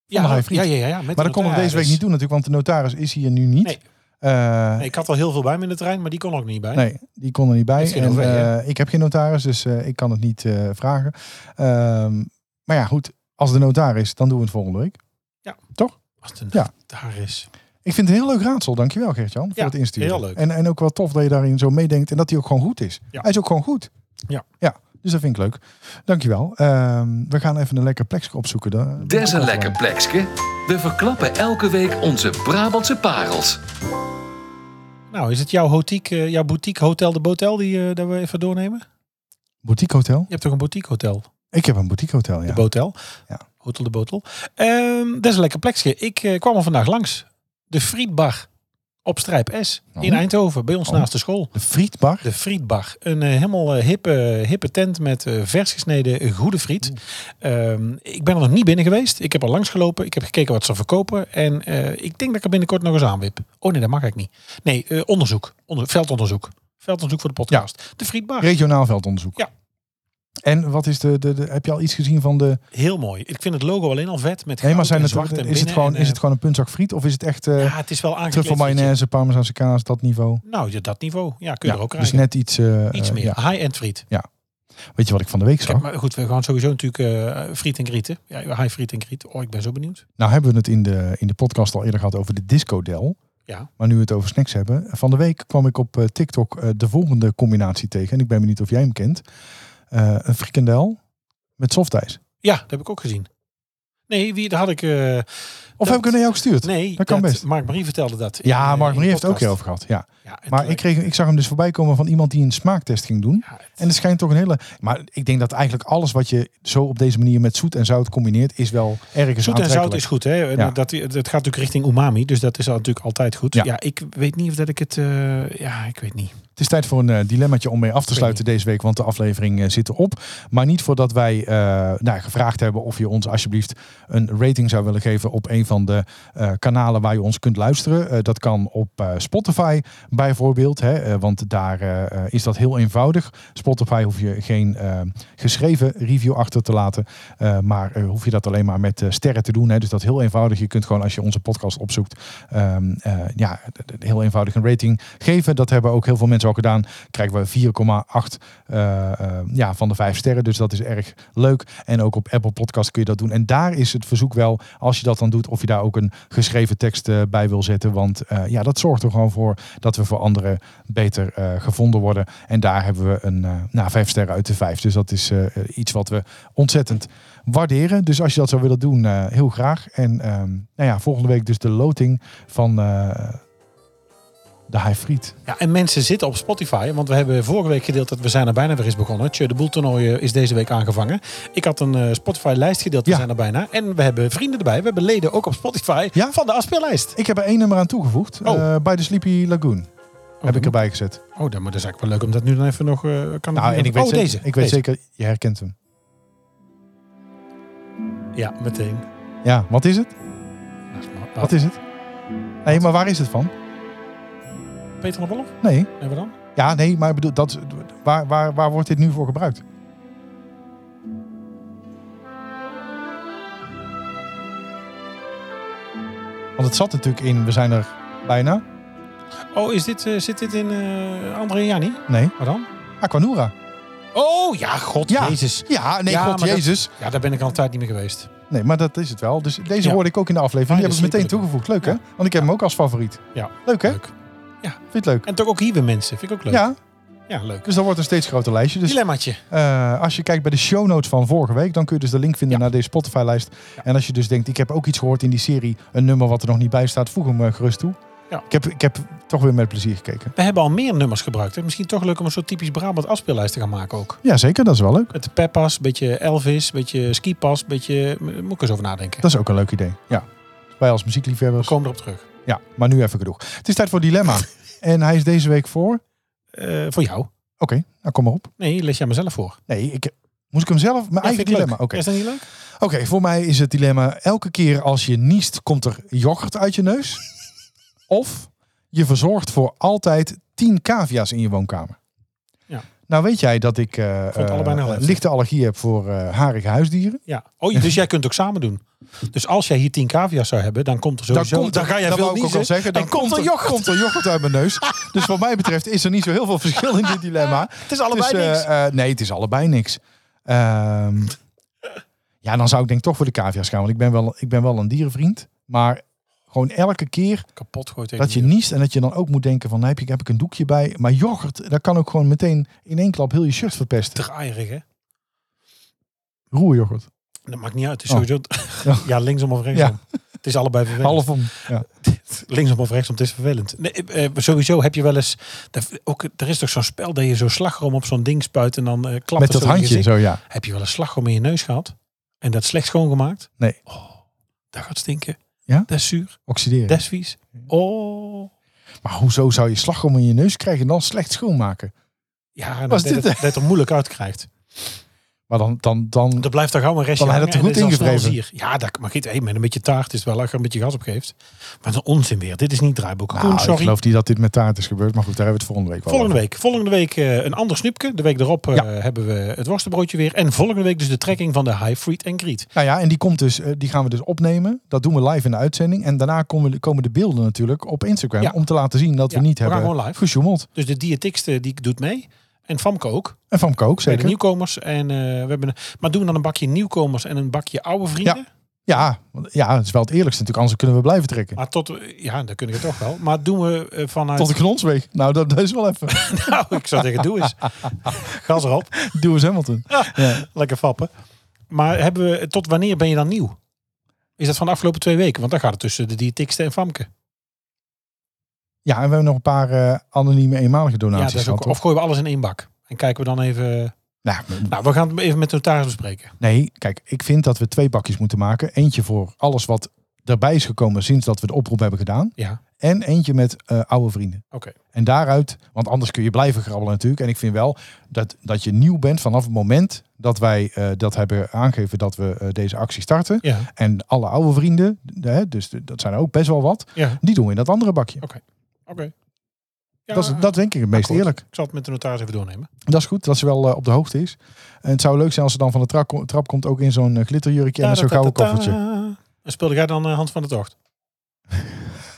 [SPEAKER 3] Ja,
[SPEAKER 2] een
[SPEAKER 3] ja,
[SPEAKER 2] vriend.
[SPEAKER 3] ja, ja, ja, met
[SPEAKER 2] Maar
[SPEAKER 3] de
[SPEAKER 2] dat konden we deze
[SPEAKER 3] notaris.
[SPEAKER 2] week niet doen natuurlijk, want de notaris is hier nu niet.
[SPEAKER 3] Nee.
[SPEAKER 2] Eh,
[SPEAKER 3] Nee, ik had al heel veel bij me in de trein, maar die kon er ook niet bij.
[SPEAKER 2] Nee, die kon er niet bij.
[SPEAKER 3] Is geen
[SPEAKER 2] en,
[SPEAKER 3] OV, hè?
[SPEAKER 2] eh, ik heb geen notaris, dus eh, ik kan het niet eh, vragen. Ehm, maar ja, goed. Als de notaris, dan doen we het volgende week.
[SPEAKER 3] Als het
[SPEAKER 2] Ja.
[SPEAKER 3] daar is.
[SPEAKER 2] Ik vind het een heel leuk raadsel. Dankjewel, Gert-Jan, voor
[SPEAKER 3] Ja,
[SPEAKER 2] het insturen.
[SPEAKER 3] heel leuk.
[SPEAKER 2] En, en ook wel tof dat je daarin zo meedenkt en dat hij ook gewoon goed is.
[SPEAKER 3] Ja.
[SPEAKER 2] Hij is ook gewoon goed.
[SPEAKER 3] Ja.
[SPEAKER 2] ja. Dus dat vind ik leuk. Dankjewel. Ehm we gaan even een lekker plekje opzoeken. eh, Da-
[SPEAKER 1] Des een lekker plekske. We verklappen elke week onze Brabantse parels.
[SPEAKER 3] Nou, is het jouw, hotiek, eh, jouw boutique hotel de Botel die eh, dat we even doornemen?
[SPEAKER 2] Boutique hotel?
[SPEAKER 3] Je hebt toch een boutique hotel?
[SPEAKER 2] Ik heb een boutique hotel, ja.
[SPEAKER 3] De Botel.
[SPEAKER 2] Ja.
[SPEAKER 3] Hotel de Botel. Ehm, dat is een lekker plekje. Ik eh, kwam er vandaag langs. De Frietbar op Strijp S
[SPEAKER 2] Oh.
[SPEAKER 3] in Eindhoven, bij ons
[SPEAKER 2] Oh.
[SPEAKER 3] naast de school.
[SPEAKER 2] De frietbar.
[SPEAKER 3] De frietbar. Een eh, helemaal eh, hippe, hippe tent met eh, vers gesneden eh, goede friet. Ehm, ik ben er nog niet binnen geweest. Ik heb al langs gelopen. Ik heb gekeken wat ze verkopen. En eh, ik denk dat ik er binnenkort nog eens aanwip. Oh nee, dat mag ik niet. Nee, eh, onderzoek. Onder- veldonderzoek. Veldonderzoek voor de podcast. De frietbar.
[SPEAKER 2] Regionaal veldonderzoek.
[SPEAKER 3] Ja.
[SPEAKER 2] En wat is de, de, de... Heb je al iets gezien van de...
[SPEAKER 3] Heel mooi. Ik vind het logo alleen al vet. Met
[SPEAKER 2] Nee, maar
[SPEAKER 3] goud
[SPEAKER 2] zijn
[SPEAKER 3] en
[SPEAKER 2] het,
[SPEAKER 3] zwart en
[SPEAKER 2] is, het
[SPEAKER 3] binnen
[SPEAKER 2] gewoon,
[SPEAKER 3] en,
[SPEAKER 2] is
[SPEAKER 3] eh,
[SPEAKER 2] het gewoon een puntzak friet? Of is het echt eh
[SPEAKER 3] Ja, het is wel aangekleed.
[SPEAKER 2] truffel
[SPEAKER 3] frietje.
[SPEAKER 2] mayonaise, parmezaanse kaas, dat niveau?
[SPEAKER 3] Nou, ja, dat niveau. Ja, kun je er ook
[SPEAKER 2] dus
[SPEAKER 3] krijgen.
[SPEAKER 2] net iets... eh,
[SPEAKER 3] Iets
[SPEAKER 2] eh,
[SPEAKER 3] meer.
[SPEAKER 2] ja.
[SPEAKER 3] High-end friet.
[SPEAKER 2] Weet je wat ik van de week
[SPEAKER 3] Kijk,
[SPEAKER 2] zag?
[SPEAKER 3] maar goed, we gaan sowieso natuurlijk eh, friet en grieten. Ja, high friet en grieten. Oh, ik ben zo benieuwd.
[SPEAKER 2] Nou hebben we het in de, in de podcast al eerder gehad over de discodel.
[SPEAKER 3] Ja.
[SPEAKER 2] Maar nu we het over snacks hebben. Van de week kwam ik op eh, TikTok eh, de volgende combinatie tegen. En ik ben benieuwd of jij hem kent. Eh, een frikandel met softijs.
[SPEAKER 3] Ja, dat heb ik ook gezien. Nee, wie, dat had ik... eh,
[SPEAKER 2] Of
[SPEAKER 3] dat-
[SPEAKER 2] heb ik hem naar jou gestuurd?
[SPEAKER 3] Nee,
[SPEAKER 2] Dat kan best.
[SPEAKER 3] Mark Marie vertelde dat. in,
[SPEAKER 2] Ja,
[SPEAKER 3] eh,
[SPEAKER 2] Mark Marie
[SPEAKER 3] in
[SPEAKER 2] heeft
[SPEAKER 3] de
[SPEAKER 2] het ook heel
[SPEAKER 3] podcast.
[SPEAKER 2] over gehad. Ja.
[SPEAKER 3] Ja, en
[SPEAKER 2] Maar
[SPEAKER 3] toen-
[SPEAKER 2] ik, kreeg, ik zag hem dus voorbij komen van iemand die een smaaktest ging doen.
[SPEAKER 3] ja, het-
[SPEAKER 2] En het schijnt toch een hele... Maar ik denk dat eigenlijk alles wat je zo op deze manier met zoet en zout combineert... is wel ergens
[SPEAKER 3] Zoet en zout is
[SPEAKER 2] aantrekkelijk.
[SPEAKER 3] goed, hè? En
[SPEAKER 2] Ja.
[SPEAKER 3] Dat, dat gaat natuurlijk richting umami, dus dat is al natuurlijk altijd goed.
[SPEAKER 2] Ja.
[SPEAKER 3] Ja, ik weet niet of dat ik het... eh, ja, ik weet niet.
[SPEAKER 2] Het is tijd voor een eh, dilemmaatje om mee af te sluiten deze week, want de aflevering eh, zit erop. Maar niet voordat wij eh, nou, gevraagd hebben of je ons alsjeblieft een rating zou willen geven op een van de eh, kanalen waar je ons kunt luisteren. Eh, dat kan op eh, Spotify bijvoorbeeld, hè, eh, want daar eh, eh, is dat heel eenvoudig. Spotify hoef je geen eh, geschreven review achter te laten, eh, maar eh, hoef je dat alleen maar met eh, sterren te doen. Hè, dus dat is heel eenvoudig. Je kunt gewoon als je onze podcast opzoekt, ehm, eh, ja, d- d- heel eenvoudig een rating geven. Dat hebben ook heel veel mensen al gedaan. Krijgen we 4,8 eh, eh, ja, van de 5 sterren. Dus dat is erg leuk. En ook op Apple Podcast kun je dat doen. En daar is het verzoek wel, als je dat dan doet, of je daar ook een geschreven tekst eh, bij wil zetten. Want eh, ja, dat zorgt er gewoon voor dat we voor anderen beter eh, gevonden worden. En daar hebben we een eh nou, 5 sterren uit de 5. Dus dat is eh, eh, iets wat we ontzettend waarderen. Dus als je dat zou willen doen, eh, heel graag. En ehm, nou ja, volgende week dus de loting van eh, de High Friet.
[SPEAKER 3] Ja, en mensen zitten op Spotify, want we hebben vorige week gedeeld dat we zijn er bijna weer eens begonnen. Tje, de boeltoernooi eh, is deze week aangevangen. Ik had een eh, Spotify-lijst gedeeld, we
[SPEAKER 2] Ja.
[SPEAKER 3] zijn er bijna. En we hebben vrienden erbij, we hebben leden ook op Spotify
[SPEAKER 2] Ja?
[SPEAKER 3] van de afspeellijst.
[SPEAKER 2] Ik heb er één nummer aan toegevoegd.
[SPEAKER 3] Oh.
[SPEAKER 2] eh, bij de Sleepy Lagoon. heb ik
[SPEAKER 3] dan-
[SPEAKER 2] erbij gezet.
[SPEAKER 3] Oh, dan, maar dat is eigenlijk wel leuk om dat nu dan even nog... eh, kan
[SPEAKER 2] Nou, en ik weet,
[SPEAKER 3] oh,
[SPEAKER 2] zeker,
[SPEAKER 3] deze.
[SPEAKER 2] ik weet
[SPEAKER 3] deze.
[SPEAKER 2] zeker, je herkent hem.
[SPEAKER 3] Ja, meteen.
[SPEAKER 2] Ja, wat is het?
[SPEAKER 3] Nou, maar-
[SPEAKER 2] Wat is het? Nee, maar waar is het van?
[SPEAKER 3] Peter van Wolf?
[SPEAKER 2] Nee.
[SPEAKER 3] Hebben we dan?
[SPEAKER 2] Ja, nee, maar ik bedoel, dat, waar, waar, waar wordt dit nu voor gebruikt? Want het zat natuurlijk in, we zijn er bijna.
[SPEAKER 3] Oh, is dit, eh, zit dit in eh André en Janni?
[SPEAKER 2] Nee,
[SPEAKER 3] Waar dan?
[SPEAKER 2] Aquanura.
[SPEAKER 3] Oh, ja, god,
[SPEAKER 2] Ja.
[SPEAKER 3] jezus.
[SPEAKER 2] Ja, nee,
[SPEAKER 3] Ja,
[SPEAKER 2] god
[SPEAKER 3] maar dat-
[SPEAKER 2] jezus.
[SPEAKER 3] Ja, daar ben ik al een tijd niet meer geweest.
[SPEAKER 2] Nee, maar dat is het wel. Dus deze
[SPEAKER 3] Ja.
[SPEAKER 2] hoorde ik ook in de aflevering. Die
[SPEAKER 3] Ah,
[SPEAKER 2] heb ik
[SPEAKER 3] dat is
[SPEAKER 2] meteen
[SPEAKER 3] super.
[SPEAKER 2] toegevoegd. Leuk hè? Want ik heb hem ook als favoriet.
[SPEAKER 3] Ja.
[SPEAKER 2] Leuk hè?
[SPEAKER 3] Leuk.
[SPEAKER 2] Vind je het leuk?
[SPEAKER 3] En toch ook hier weer mensen. Vind ik ook leuk.
[SPEAKER 2] Ja,
[SPEAKER 3] Ja, leuk.
[SPEAKER 2] dus dat wordt een steeds groter lijstje. Dus
[SPEAKER 3] Dilemmaatje.
[SPEAKER 2] eh, als je kijkt bij de show notes van vorige week, dan kun je dus de link vinden naar deze Spotify-lijst. En als je dus denkt, ik heb ook iets gehoord in die serie, een nummer wat er nog niet bij staat, voeg hem eh, gerust toe.
[SPEAKER 3] Ja.
[SPEAKER 2] Ik, heb, ik heb toch weer met plezier gekeken.
[SPEAKER 3] We hebben al meer nummers gebruikt. Hè? Misschien toch leuk om een soort typisch Brabant afspeellijst te gaan maken ook.
[SPEAKER 2] Ja, zeker. Dat is wel leuk.
[SPEAKER 3] Met de Peppas, beetje Elvis, beetje Skipas, beetje... eh, Moet ik eens over nadenken.
[SPEAKER 2] Dat is ook een leuk idee. Ja. Wij als
[SPEAKER 3] We
[SPEAKER 2] muziekliefhebbers.
[SPEAKER 3] komen erop terug.
[SPEAKER 2] Ja, maar nu even genoeg. Het is tijd voor Dilemma. en hij is deze week voor... Oké,
[SPEAKER 3] Eh, voor jou?
[SPEAKER 2] nou kom maar op.
[SPEAKER 3] Nee, lees jij mezelf voor.
[SPEAKER 2] Nee, ik... Moest ik hem zelf? Mijn
[SPEAKER 3] Ja,
[SPEAKER 2] eigen
[SPEAKER 3] vind ik leuk.
[SPEAKER 2] dilemma. Oké,
[SPEAKER 3] Is dat niet leuk?
[SPEAKER 2] Oké, voor mij is het dilemma... Elke keer als je niest, komt er yoghurt uit je neus. of je verzorgt voor altijd 10 cavia's in je woonkamer.
[SPEAKER 3] Ja.
[SPEAKER 2] Nou weet jij dat ik eh,
[SPEAKER 3] het allebei
[SPEAKER 2] eh,
[SPEAKER 3] nog even.
[SPEAKER 2] lichte allergie heb voor eh, harige huisdieren.
[SPEAKER 3] Ja. Oh, dus jij kunt het ook samen doen. Dus als jij hier 10 cavia's zou hebben, dan komt er sowieso... dan ga jij
[SPEAKER 2] dat
[SPEAKER 3] veel
[SPEAKER 2] wou ik ook al
[SPEAKER 3] niet
[SPEAKER 2] zeggen. Dan komt er, yoghurt. komt er yoghurt uit mijn neus. dus wat mij betreft is er niet zo heel veel verschil in dit dilemma.
[SPEAKER 3] Het is
[SPEAKER 2] Het
[SPEAKER 3] allebei
[SPEAKER 2] is, eh,
[SPEAKER 3] niks.
[SPEAKER 2] eh, nee, het is allebei niks. Ehm, ja, dan zou ik denk ik toch voor de cavia's gaan. Want ik ben wel, ik ben wel een dierenvriend. Maar gewoon elke keer
[SPEAKER 3] Kapot gooit tegen
[SPEAKER 2] dat je
[SPEAKER 3] die-
[SPEAKER 2] niest en dat je dan ook moet denken van... nou, Heb ik, heb ik een doekje bij? Maar yoghurt, dat kan ook gewoon meteen in één klap heel je shirt verpesten.
[SPEAKER 3] Te aardig, hè?
[SPEAKER 2] Roeryoghurt.
[SPEAKER 3] Dat maakt niet uit. Het is
[SPEAKER 2] Oh.
[SPEAKER 3] sowieso...
[SPEAKER 2] Ja.
[SPEAKER 3] Ja. linksom of rechtsom. Het is allebei vervelend.
[SPEAKER 2] Halfom. Ja.
[SPEAKER 3] Linksom of rechtsom, het is vervelend. Nee, eh, sowieso heb je wel eens... daar- Ook, er is toch zo'n spel dat je zo slagroom op zo'n ding spuit en dan eh klapt
[SPEAKER 2] Met dat
[SPEAKER 3] het zo in je
[SPEAKER 2] handje
[SPEAKER 3] gezicht.
[SPEAKER 2] zo, ja.
[SPEAKER 3] Heb je wel eens slagroom in je neus gehad? En dat slecht schoongemaakt?
[SPEAKER 2] Nee.
[SPEAKER 3] Oh, dat gaat stinken.
[SPEAKER 2] Ja?
[SPEAKER 3] Dat is zuur.
[SPEAKER 2] Oxideren.
[SPEAKER 3] Dat is vies. Oh.
[SPEAKER 2] Maar hoezo zou je slagroom in je neus krijgen en dan slecht schoonmaken?
[SPEAKER 3] Ja, en
[SPEAKER 2] Was
[SPEAKER 3] dat, dat,
[SPEAKER 2] dit-
[SPEAKER 3] dat het er moeilijk uit krijgt.
[SPEAKER 2] Maar dan, dan, dan
[SPEAKER 3] Er blijft daar gauw een restje
[SPEAKER 2] Dan had
[SPEAKER 3] hangen
[SPEAKER 2] het er
[SPEAKER 3] en
[SPEAKER 2] goed
[SPEAKER 3] is al snel
[SPEAKER 2] ingevreven.
[SPEAKER 3] zuur. Ja, dat mag niet. Hey, met een beetje taart is het wel als je een beetje gas op geeft. Maar dat is een onzin weer. Dit is niet draaiboek.
[SPEAKER 2] Nou,
[SPEAKER 3] Koen,
[SPEAKER 2] ik
[SPEAKER 3] sorry.
[SPEAKER 2] geloof niet dat dit met taart is gebeurd. Maar goed, daar hebben we het volgende week wel
[SPEAKER 3] Volgende week. Volgende week eh, een ander snoepje. De week erop eh,
[SPEAKER 2] Ja.
[SPEAKER 3] hebben we het worstenbroodje weer. En volgende week dus de trekking van de High Freed and Greet.
[SPEAKER 2] over. Nou ja, en die, komt dus, eh, die gaan we dus opnemen. Dat doen we live in de uitzending. En daarna komen, komen de beelden natuurlijk op Instagram.
[SPEAKER 3] Ja.
[SPEAKER 2] Om te laten zien dat
[SPEAKER 3] Ja,
[SPEAKER 2] we niet
[SPEAKER 3] we gaan
[SPEAKER 2] hebben
[SPEAKER 3] gewoon live.
[SPEAKER 2] gesjoemeld.
[SPEAKER 3] Dus de diëtikste die doet mee. En Famke ook.
[SPEAKER 2] En van Kook
[SPEAKER 3] Bij de
[SPEAKER 2] zeker.
[SPEAKER 3] nieuwkomers. En eh, we hebben een- maar doen we dan een bakje nieuwkomers en een bakje oude vrienden?
[SPEAKER 2] Ja, want- ja, het is wel het eerlijkste natuurlijk. Anders kunnen we blijven trekken.
[SPEAKER 3] Maar tot, ja, dan kunnen we toch wel. Maar doen we eh, vanuit...
[SPEAKER 2] Tot de knonsweeg. Nou, dat, dat is wel even.
[SPEAKER 3] Nou, ik zou zeggen, doe eens. Gas erop.
[SPEAKER 2] Doe eens Hamilton.
[SPEAKER 3] Lekker fappen. Maar hebben we, tot wanneer ben je dan nieuw? Is dat van de afgelopen twee weken? Want dan gaat het tussen de diëtikste en Famke.
[SPEAKER 2] Nou, Ja, en we hebben nog een paar eh, anonieme eenmalige
[SPEAKER 3] ja,
[SPEAKER 2] donaties
[SPEAKER 3] dat is ook,
[SPEAKER 2] gehad.
[SPEAKER 3] of
[SPEAKER 2] Of...
[SPEAKER 3] gooien we alles in één bak? En kijken we dan even...
[SPEAKER 2] Nou,
[SPEAKER 3] Nou, we gaan het even met de notaris bespreken.
[SPEAKER 2] Nee, kijk, ik vind dat we twee bakjes moeten maken. Eentje voor alles wat erbij is gekomen sinds dat we de oproep hebben gedaan.
[SPEAKER 3] Ja,
[SPEAKER 2] En eentje met eh, oude vrienden.
[SPEAKER 3] oké.
[SPEAKER 2] En daaruit, want anders kun je blijven grabbelen natuurlijk. En ik vind wel dat, dat je nieuw bent vanaf het moment dat wij eh, dat hebben aangegeven dat we eh, deze actie starten.
[SPEAKER 3] Ja,
[SPEAKER 2] En alle oude vrienden, de- hè, dus de- dat zijn er ook best wel wat,
[SPEAKER 3] ja,
[SPEAKER 2] die doen we in dat andere bakje.
[SPEAKER 3] oké. Ja,
[SPEAKER 2] dat, is, dat denk ik het meest
[SPEAKER 3] akkoord.
[SPEAKER 2] eerlijk.
[SPEAKER 3] Ik zal het met de notaris even doornemen.
[SPEAKER 2] Dat is goed, dat ze wel eh, op de hoogte is. En het zou leuk zijn als ze dan van de trap, ko- trap komt ook in zo'n eh, glitterjurkje en een zo'n gouden
[SPEAKER 3] Ta-da-ta-ta-ta.
[SPEAKER 2] koffertje.
[SPEAKER 3] En speelde jij dan eh, Hans van de Tocht?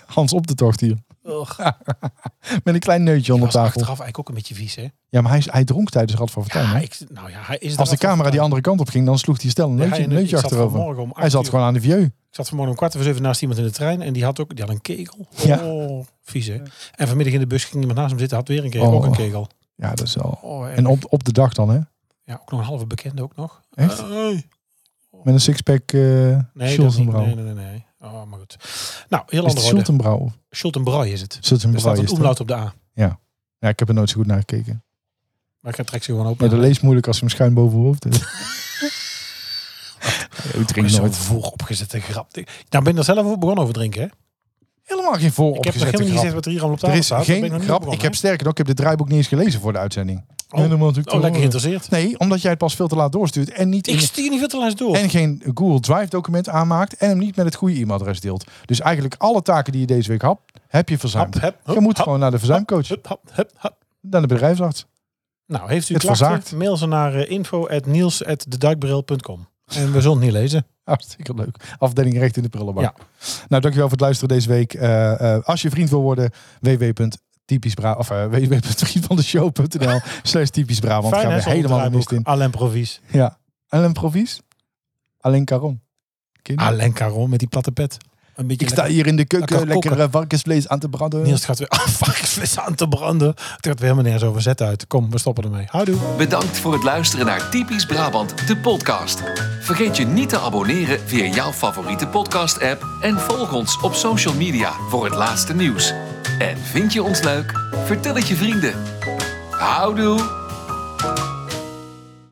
[SPEAKER 2] Hans op de tocht hier.
[SPEAKER 3] Och,
[SPEAKER 2] Met een klein neutje onder
[SPEAKER 3] was
[SPEAKER 2] tafel.
[SPEAKER 3] achteraf eigenlijk ook een beetje vies, hè?
[SPEAKER 2] Ja, maar hij, is- hij dronk tijdens Rad van Fortuin.
[SPEAKER 3] Ja,
[SPEAKER 2] hè?
[SPEAKER 3] ik, nou ja, hij is
[SPEAKER 2] Dus Als de
[SPEAKER 3] eraf
[SPEAKER 2] camera die
[SPEAKER 3] overtuigd.
[SPEAKER 2] andere kant op ging, dan sloeg hij stel een
[SPEAKER 3] Ja,
[SPEAKER 2] neutje,
[SPEAKER 3] hij-
[SPEAKER 2] een neutje
[SPEAKER 3] ik zat
[SPEAKER 2] achterover.
[SPEAKER 3] vanmorgen om acht
[SPEAKER 2] Hij zat
[SPEAKER 3] uur-
[SPEAKER 2] gewoon aan de vieux.
[SPEAKER 3] Ik zat vanmorgen om kwart over zeven naast iemand in de trein en die had ook die had een kegel.
[SPEAKER 2] Ja.
[SPEAKER 3] Oh, vies hè. En vanmiddag in de bus ging iemand naast hem zitten, had weer een kegel,
[SPEAKER 2] Oh.
[SPEAKER 3] ook een kegel.
[SPEAKER 2] Ja, dat is wel.
[SPEAKER 3] Oh, en,
[SPEAKER 2] En op, op de dag dan, hè?
[SPEAKER 3] ja, ook nog een halve bekende ook nog.
[SPEAKER 2] Echt?
[SPEAKER 3] Eh, hey.
[SPEAKER 2] Met een sixpack eh
[SPEAKER 3] Oh. nee, dat niet.
[SPEAKER 2] Schultenbrouw.
[SPEAKER 3] nee, nee, nee, nee. Oh, maar goed. Nou, heel
[SPEAKER 2] Is het
[SPEAKER 3] ander orde.
[SPEAKER 2] Schultenbrouw?
[SPEAKER 3] Schultenbrooi is het. Er
[SPEAKER 2] Schultenbrouw
[SPEAKER 3] staat
[SPEAKER 2] is
[SPEAKER 3] een
[SPEAKER 2] het, hè?
[SPEAKER 3] omlaut op de A.
[SPEAKER 2] Ja, ik heb er nooit zo goed naar gekeken.
[SPEAKER 3] Maar ik ga trek ze gewoon open.
[SPEAKER 2] Maar dat leest moeilijk als ze hem schuin boven mijn hoofd heeft.
[SPEAKER 3] Oh,
[SPEAKER 2] Ja, Ik
[SPEAKER 3] er
[SPEAKER 2] drink
[SPEAKER 3] is zo'n
[SPEAKER 2] nooit.
[SPEAKER 3] vooropgezette grap. Ik- Nou, ben je er zelf over begonnen over drinken, hè?
[SPEAKER 2] Helemaal geen voor
[SPEAKER 3] ik heb nog helemaal niet gezegd
[SPEAKER 2] grap.
[SPEAKER 3] wat er hier allemaal op
[SPEAKER 2] Er
[SPEAKER 3] tafel
[SPEAKER 2] is
[SPEAKER 3] staat. Daar ben
[SPEAKER 2] geen
[SPEAKER 3] ik nog niet
[SPEAKER 2] grap.
[SPEAKER 3] over
[SPEAKER 2] Ik heb
[SPEAKER 3] begonnen,
[SPEAKER 2] sterker nog, ik heb dit draaiboek niet eens gelezen voor de uitzending.
[SPEAKER 3] Oh.
[SPEAKER 2] En dan moet ik
[SPEAKER 3] hè? Oh,
[SPEAKER 2] toch-
[SPEAKER 3] lekker geïnteresseerd.
[SPEAKER 2] Nee, omdat jij het pas veel te laat doorstuurt en niet
[SPEAKER 3] Ik
[SPEAKER 2] in
[SPEAKER 3] stuur niet veel te lijst door.
[SPEAKER 2] en geen Google Drive document aanmaakt en hem niet met het goede e-mailadres deelt. Dus eigenlijk alle taken die je deze week had, heb je verzuimd.
[SPEAKER 3] Hap, hap,
[SPEAKER 2] je
[SPEAKER 3] hap,
[SPEAKER 2] moet
[SPEAKER 3] hap,
[SPEAKER 2] gewoon naar de verzuimcoach,
[SPEAKER 3] Hup, hup, hup, hup.
[SPEAKER 2] naar de bedrijfsarts.
[SPEAKER 3] Nou, heeft u
[SPEAKER 2] Het
[SPEAKER 3] klachten?
[SPEAKER 2] verzaakt.
[SPEAKER 3] Mail ze naar eh, info@niels@deduikbril.com. En we zullen het niet lezen.
[SPEAKER 2] Hartstikke leuk. Afdeling recht in de prullenbak.
[SPEAKER 3] Ja.
[SPEAKER 2] Nou, dankjewel voor het luisteren deze week. Eh, eh, als je vriend wil worden, www.typischbra of eh, www.vriendvandeshow.nl slash typisch Brabant. Gaan
[SPEAKER 3] hè,
[SPEAKER 2] we
[SPEAKER 3] zonder
[SPEAKER 2] helemaal de mist
[SPEAKER 3] draaiboek.
[SPEAKER 2] in.
[SPEAKER 3] Alain Provies.
[SPEAKER 2] Ja. Alain Provies? Alain Caron. Ken je die?
[SPEAKER 3] Alain Caron met die platte pet. Een beetje
[SPEAKER 2] Ik sta
[SPEAKER 3] lekker-
[SPEAKER 2] hier in de keuken
[SPEAKER 3] lekker
[SPEAKER 2] lekker
[SPEAKER 3] koken.
[SPEAKER 2] eh, varkensvlees aan te branden.
[SPEAKER 3] Niels gaat weer ah, varkensvlees aan te branden. Het gaat weer helemaal nergens over zet uit. Kom, we stoppen ermee. Houdoe.
[SPEAKER 1] Bedankt voor het luisteren naar Typisch Brabant, de podcast. Vergeet je niet te abonneren via jouw favoriete podcast-app en volg ons op social media voor het laatste nieuws. En vind je ons leuk? Vertel het je vrienden. Houdoe!